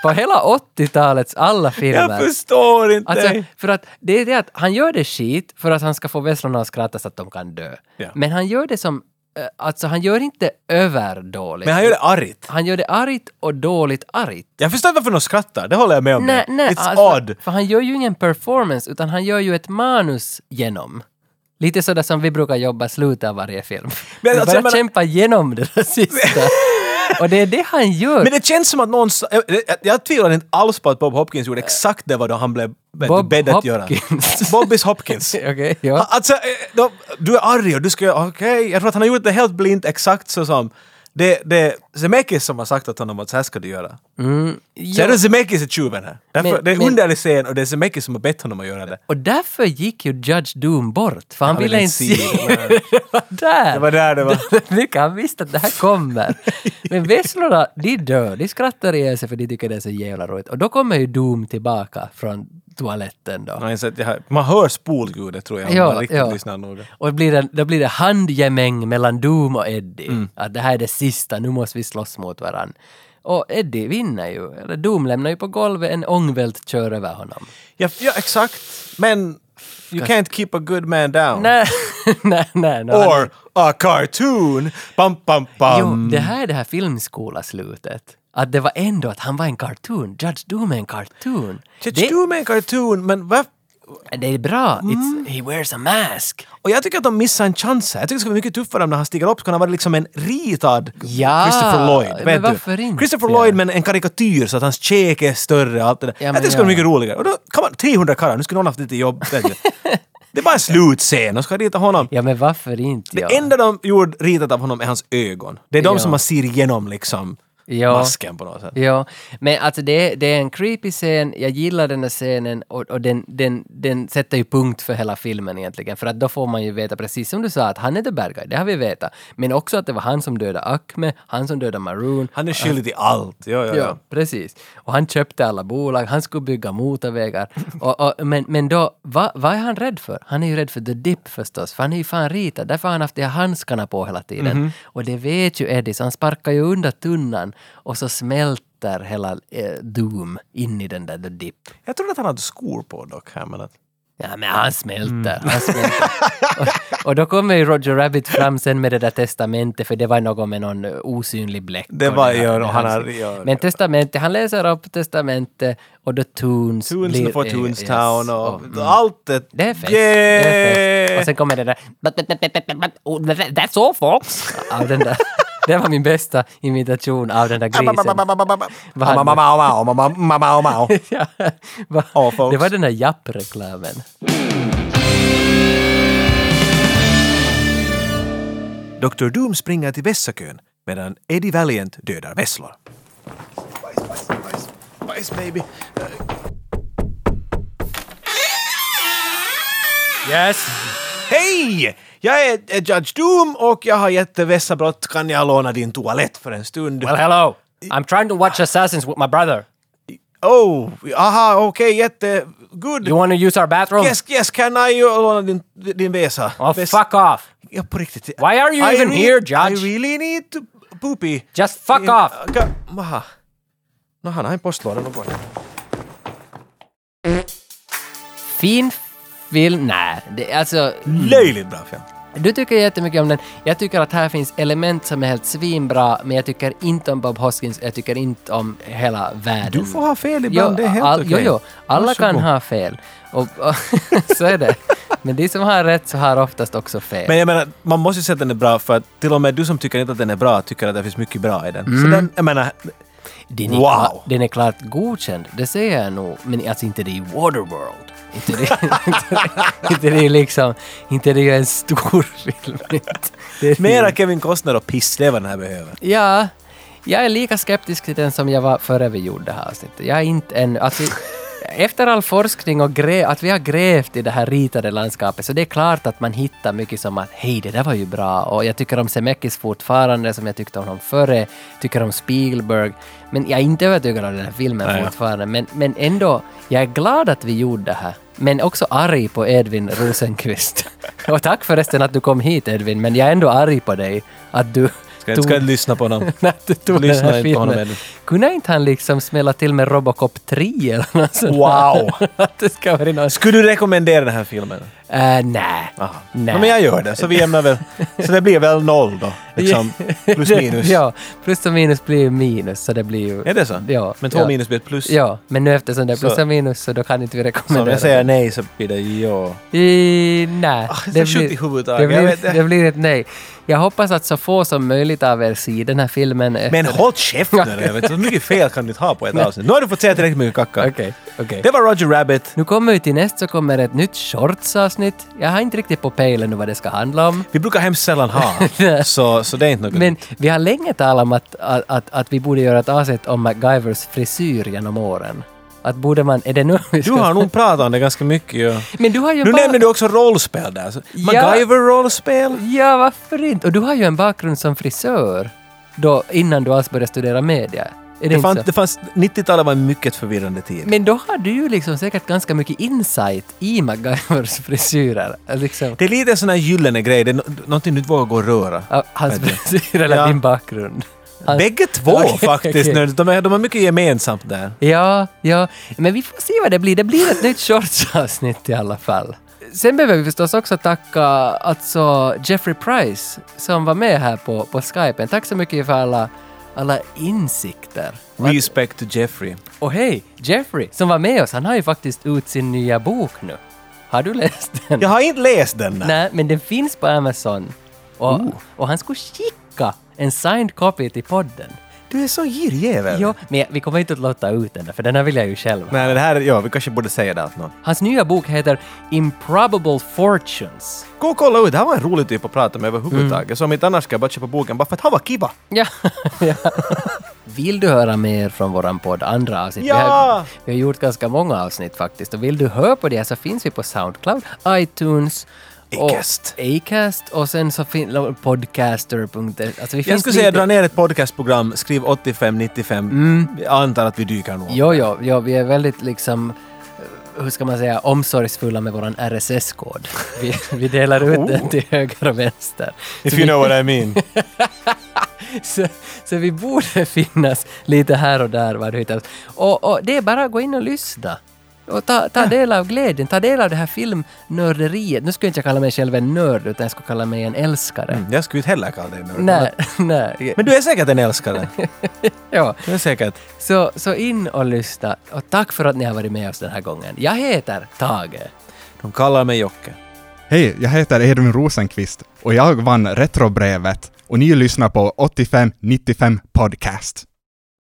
S2: på hela 80-talets alla
S1: Jag
S2: filmer.
S1: förstår inte!
S2: Alltså, för att det är det att han gör det skit för att han ska få vesslorna att skratta så att de kan dö.
S1: Ja.
S2: Men han gör det som, eh, alltså han gör inte överdåligt.
S1: men han gör det argt.
S2: Han gör det argt och dåligt argt.
S1: Jag förstår varför de skrattar, det håller jag med om.
S2: Nej, nej,
S1: It's
S2: alltså,
S1: odd.
S2: För han gör ju ingen performance utan han gör ju ett manus genom. Lite sådär som vi brukar jobba slutet av varje film.
S1: Men
S2: Men
S1: alltså,
S2: bara
S1: jag menar-
S2: kämpa igenom det där sista. Och det är det han gör.
S1: Men det känns som att någon... sa- Jag, jag, jag tvivlar inte alls på att Bob Hopkins gjorde exakt det vad då han blev vet du,
S2: Bob
S1: bedd att göra.
S2: Hopkins.
S1: Bobbys Hopkins.
S2: Okej, ja.
S1: Alltså, eh, då, du är arg och du ska... Okej, jag tror att han har gjort det helt blint exakt så som... Det det är Zemeckis som har sagt åt honom att så här ska du göra. Så är det Zemeckis är tjuven här. Därför,
S2: Men-
S1: det är en
S2: men-
S1: underlig scen och det är Zemeckis som har bett honom att göra det.
S2: Och därför gick ju Judge Doom bort, för han,
S1: Han
S2: ville inte se
S1: det.
S2: det. var där!
S1: Det var där det var.
S2: Mycket, han visste att det här kommer. Men vesslorna, de dör. De skrattar ihjäl sig för de tycker det är så jävla roligt. Och då kommer ju Doom tillbaka från toaletten då.
S1: Jag har insett, jag har- Man hör spolgudet tror jag om man riktigt lyssnar noga.
S2: Och blir det, då blir det handgemäng mellan Doom och Eddie.
S1: Mm.
S2: Att det här är det sista, nu måste vi slåss mot varann. Och Eddie vinner ju. Eller Doom lämnar ju på golvet, en ångvält kör över honom.
S1: Ja, ja, exakt. Men you can't keep a good man down.
S2: Nej, nej, nej. nej.
S1: Or um, a cartoon! Bam, bam, bam.
S2: Jo, det här är det här filmskola-slutet. Att det var ändå att han var en cartoon. Judge Doom är en cartoon.
S1: Judge
S2: det,
S1: Doom är en cartoon, men va?
S2: det är bra.
S1: Mm.
S2: It's, he wears a mask.
S1: Och jag tycker att de missar en chans här. Jag tycker det skulle vara mycket tuffare om när han stiger upp så kan han vara liksom en ritad
S2: Ja,
S1: Christopher Lloyd.
S2: men
S1: Vet
S2: varför
S1: du?
S2: inte?
S1: Christopher Lloyd men en karikatyr så att hans käke är större och allt det där.
S2: Ja,
S1: jag
S2: men
S1: tycker det skulle vara
S2: ja.
S1: mycket roligare. Och då kan man, 300 karlar, nu skulle någon haft lite jobb. vet du. det är bara en slutscen, de ska rita honom.
S2: Ja, men varför inte?
S1: Det
S2: ja.
S1: enda de gjorde ritat av honom är hans ögon. Det är de
S2: Ja.
S1: som man ser igenom liksom
S2: Ja.
S1: masken på något sätt.
S2: Ja, men alltså det, det är en creepy scen, jag gillar den här scenen och, och den, den, den sätter ju punkt för hela filmen egentligen. För att då får man ju veta, precis som du sa, att han är the bad guy, det har vi vetat. Men också att det var han som dödade Acme, han som dödade Maroon.
S1: Han är skyldig till allt. Ja, ja, ja.
S2: Ja, precis. Och han köpte alla bolag, han skulle bygga motorvägar. Och, och, men, men då, vad, vad är han rädd för? Han är ju rädd för the dip förstås, för han är ju fan ritad. Därför har han haft de här handskarna på hela tiden.
S1: Mhm.
S2: Och det vet ju Eddie, så han sparkar ju undan tunnan och så smälter hela eh, Doom in i den där the dip.
S1: Jag trodde att han hade skor på dock här men att...
S2: Ja, men han smälter. Mm, Han smälter. och, och då kommer ju Roger Rabbit fram sen med det där testamentet, för det var något med någon osynlig bläck.
S1: Det
S2: och
S1: var-
S2: här-
S1: ja, och han
S2: här-
S1: har- ja,
S2: Men testamentet, han läser upp testamentet och då Toons...
S1: Toons for
S2: eh,
S1: Toonstown
S2: yes,
S1: och, Ah!
S2: mm.
S1: allt det.
S2: Det är fest.
S1: Yeah!
S2: Det är fest. Och sen kommer det där... "But, but, but, but, but, but, oh, That's all folks! Av den där. Det var min bästa imitation av den där
S1: Ah,
S2: grisen. Vad hade- Ja, va-
S1: All folks.
S2: Det var den där Japp-reklamen.
S1: Dr. Doom springer till vässakön medan Eddie Valiant dödar vesslor.
S2: Yes!
S1: Hej! Jag är eh, Judge Doom och jag har jättevassa brott. Kan jag låna din toalett för en stund?
S2: Well, hello. I'm trying to watch Assassins with my brother.
S1: Oh, aha, okej, jätte... Good.
S2: You want to use our bathroom?
S1: Yes, yes, can I uh, låna din, din väsa?
S2: Oh,
S1: Väs-
S2: fuck off.
S1: Ja, på riktigt.
S2: Why are you
S1: I
S2: even
S1: re-
S2: here, Judge?
S1: I really need to poopy.
S2: Just fuck
S1: In-
S2: off.
S1: Ka- Maha. No, han har en postlåda någon
S2: Mm.
S1: gång.
S2: Fin film? Nej, det, alltså...
S1: Löjligt bra film.
S2: Du tycker jättemycket om den. Jag tycker att här finns element som är helt svinbra, men jag tycker inte om Bob Hoskins, jag tycker inte om hela världen.
S1: Du får ha fel ibland, det är helt
S2: all,
S1: okej.
S2: Jo, jo, alla kan
S1: Varsågod.
S2: ha fel. Och, och, så är det. Men de som har rätt så har oftast också fel.
S1: Men jag menar, man måste ju säga att den är bra för att till och med du som tycker inte att den är bra tycker att det finns mycket bra i den.
S2: Mm.
S1: Så den, jag menar,
S2: Den är,
S1: Wow.
S2: kla- den är klart godkänd, det säger jag nog. Men alltså inte det i Waterworld. Inte det, inte, inte det är liksom... Inte det är en stor film. Inte- Det är
S1: mera Kevin Costner och piss, det är vad den här behöver.
S2: Ja, jag är lika skeptisk till den som jag var före vi gjorde det här avsnittet. Jag är inte ännu... Alltså, efter all forskning och grä, att vi har grävt i det här ritade landskapet så det är klart att man hittar mycket som att hej, det där var ju bra och jag tycker om Zemeckis fortfarande som jag tyckte om honom före, tycker om Spielberg. Men jag är inte övertygad om den här filmen
S1: Nej.
S2: fortfarande. Men, men ändå, jag är glad att vi gjorde det här. Men också arg på Edvin Rosenqvist. och tack förresten att du kom hit Edvin, men jag är ändå arg på dig att du
S1: Ska jag ska jag inte lyssna på honom?
S2: när du tog
S1: Lyssna
S2: den här
S1: inte på honom
S2: filmen.
S1: ännu.
S2: Kunde inte han liksom smälla till med Robocop 3 eller något sånt?
S1: Wow.
S2: Att det ska vara något...
S1: Skulle du rekommendera den här filmen?
S2: Äh, nej.
S1: Aha.
S2: Nej.
S1: Ja, men jag gör det, så vi jämnar väl. Så det blir väl noll då, liksom. Plus minus.
S2: ja, plus och minus blir ju minus så det blir ju...
S1: Är det så?
S2: Ja.
S1: Men två
S2: ja.
S1: minus blir ett plus.
S2: Ja, men nu eftersom det är plus
S1: Så-
S2: och minus så då kan inte vi
S1: Så
S2: rekommendera
S1: om jag säger nej så blir det ja.
S2: I, nej.
S1: Ah, det är sjukt i huvudet,
S2: det,
S1: jag vet
S2: blir,
S1: det.
S2: det blir ett nej. Jag hoppas att så få som möjligt av er ser den här filmen.
S1: Men håll käften nu! jag vet, Så mycket fel kan du inte ha på ett avsnitt. Nu har du fått säga tillräckligt mycket kacka.
S2: Okej, okej.
S1: Det var Roger Rabbit.
S2: Nu kommer ju till näst så kommer ett nytt shorts-avsnitt. Jag har inte riktigt på pejlen nu vad det ska handla om.
S1: Vi brukar hemskt sällan ha, så, så det är inte något
S2: Men vi har länge talat om att, att, att, att vi borde göra ett avsnitt om MacGyvers frisyr genom åren. Att borde man... Är det nu vi
S1: Du
S2: ska-
S1: har nog pratat om det ganska mycket ju.
S2: Men du har ju
S1: Nu
S2: bara-
S1: nämner du också rollspel där. Så
S2: Ja.
S1: MacGyver-rollspel?
S2: Ja, varför inte? Och du har ju en bakgrund som frisör. Då, innan du alls började studera media. Är det,
S1: Det
S2: inte
S1: fanns,
S2: så?
S1: det fanns, 90-talet var en mycket förvirrande tid.
S2: Men då har du ju liksom säkert ganska mycket insight i MacGyvers frisyrer. Liksom,
S1: Det är lite en sån här gyllene grej, det är no- någonting du inte vågar gå och röra.
S2: av hans frisyr eller
S1: Ja.
S2: din bakgrund. Hans-
S1: Bägge två
S2: alltså- Okej,
S1: faktiskt.
S2: okej.
S1: nu. De, är, de har mycket gemensamt där.
S2: Ja, ja. Men vi får se vad det blir. Det blir ett nytt shortsavsnitt i alla fall. Sen behöver vi förstås också tacka alltså Jeffrey Price som var med här på, på Skypen. Tack så mycket för alla, alla insikter.
S1: Respect to Jeffrey.
S2: Och hej, Jeffrey som var med oss, han har ju faktiskt ut sin nya bok nu. Har du läst den?
S1: Jag har inte läst den. där.
S2: Nej, men den finns på Amazon. Och, och han skulle skicka en signed copy till podden.
S1: Du är så girjävel.
S2: Jo, men jag- vi kommer inte att låta ut den, där, för den här vill jag ju själv ha.
S1: Nej, det här, ja, vi kanske borde säga det åt någon.
S2: Hans nya bok heter Improbable Fortunes.
S1: Gå och kolla ut, det här var en rolig typ att prata med överhuvudtaget. Så om inte annars ska jag bara köpa boken bara för att han var kiva.
S2: Ja. ja. Vill du höra mer från våran podd, andra avsnitt? Vi, har,
S1: Ja!
S2: vi har gjort ganska många avsnitt faktiskt. Och vill du höra på det här så finns vi på Soundcloud, iTunes, och-
S1: Acast.
S2: Acast och sen så finns podcaster. Alltså vi
S1: Jag
S2: finns
S1: skulle säga
S2: lite-
S1: dra ner ett podcastprogram, skriv 85-95. Jag antar att vi dyker nog.
S2: Jo, jo, jo, vi är väldigt liksom eh, hur ska man säga, omsorgsfulla med våran RSS-kod. Vi, vi delar ut den till höger och vänster.
S1: Oh. If
S2: Så
S1: you
S2: vi-
S1: know what I mean.
S2: så, så vi borde finnas lite här och där var du hittar oss. Och, och det är bara att gå in och lyssna. Och ta, ta del av glädjen, ta del av det här filmnörderiet. Nu skulle jag inte kalla mig själv en nörd, utan jag skulle kalla mig en älskare.
S1: Jag skulle inte heller kalla dig nörd.
S2: Nej, nej.
S1: Mm. Men du är säkert en älskare.
S2: ja.
S1: Du är säkert.
S2: så, så in och lyssna. Och tack för att ni har varit med oss den här gången. Jag heter Tage.
S1: De kallar mig Jocke.
S3: Hej, jag heter Edvin Rosenqvist och jag vann Retrobrevet och ni lyssnar på 8595 Podcast.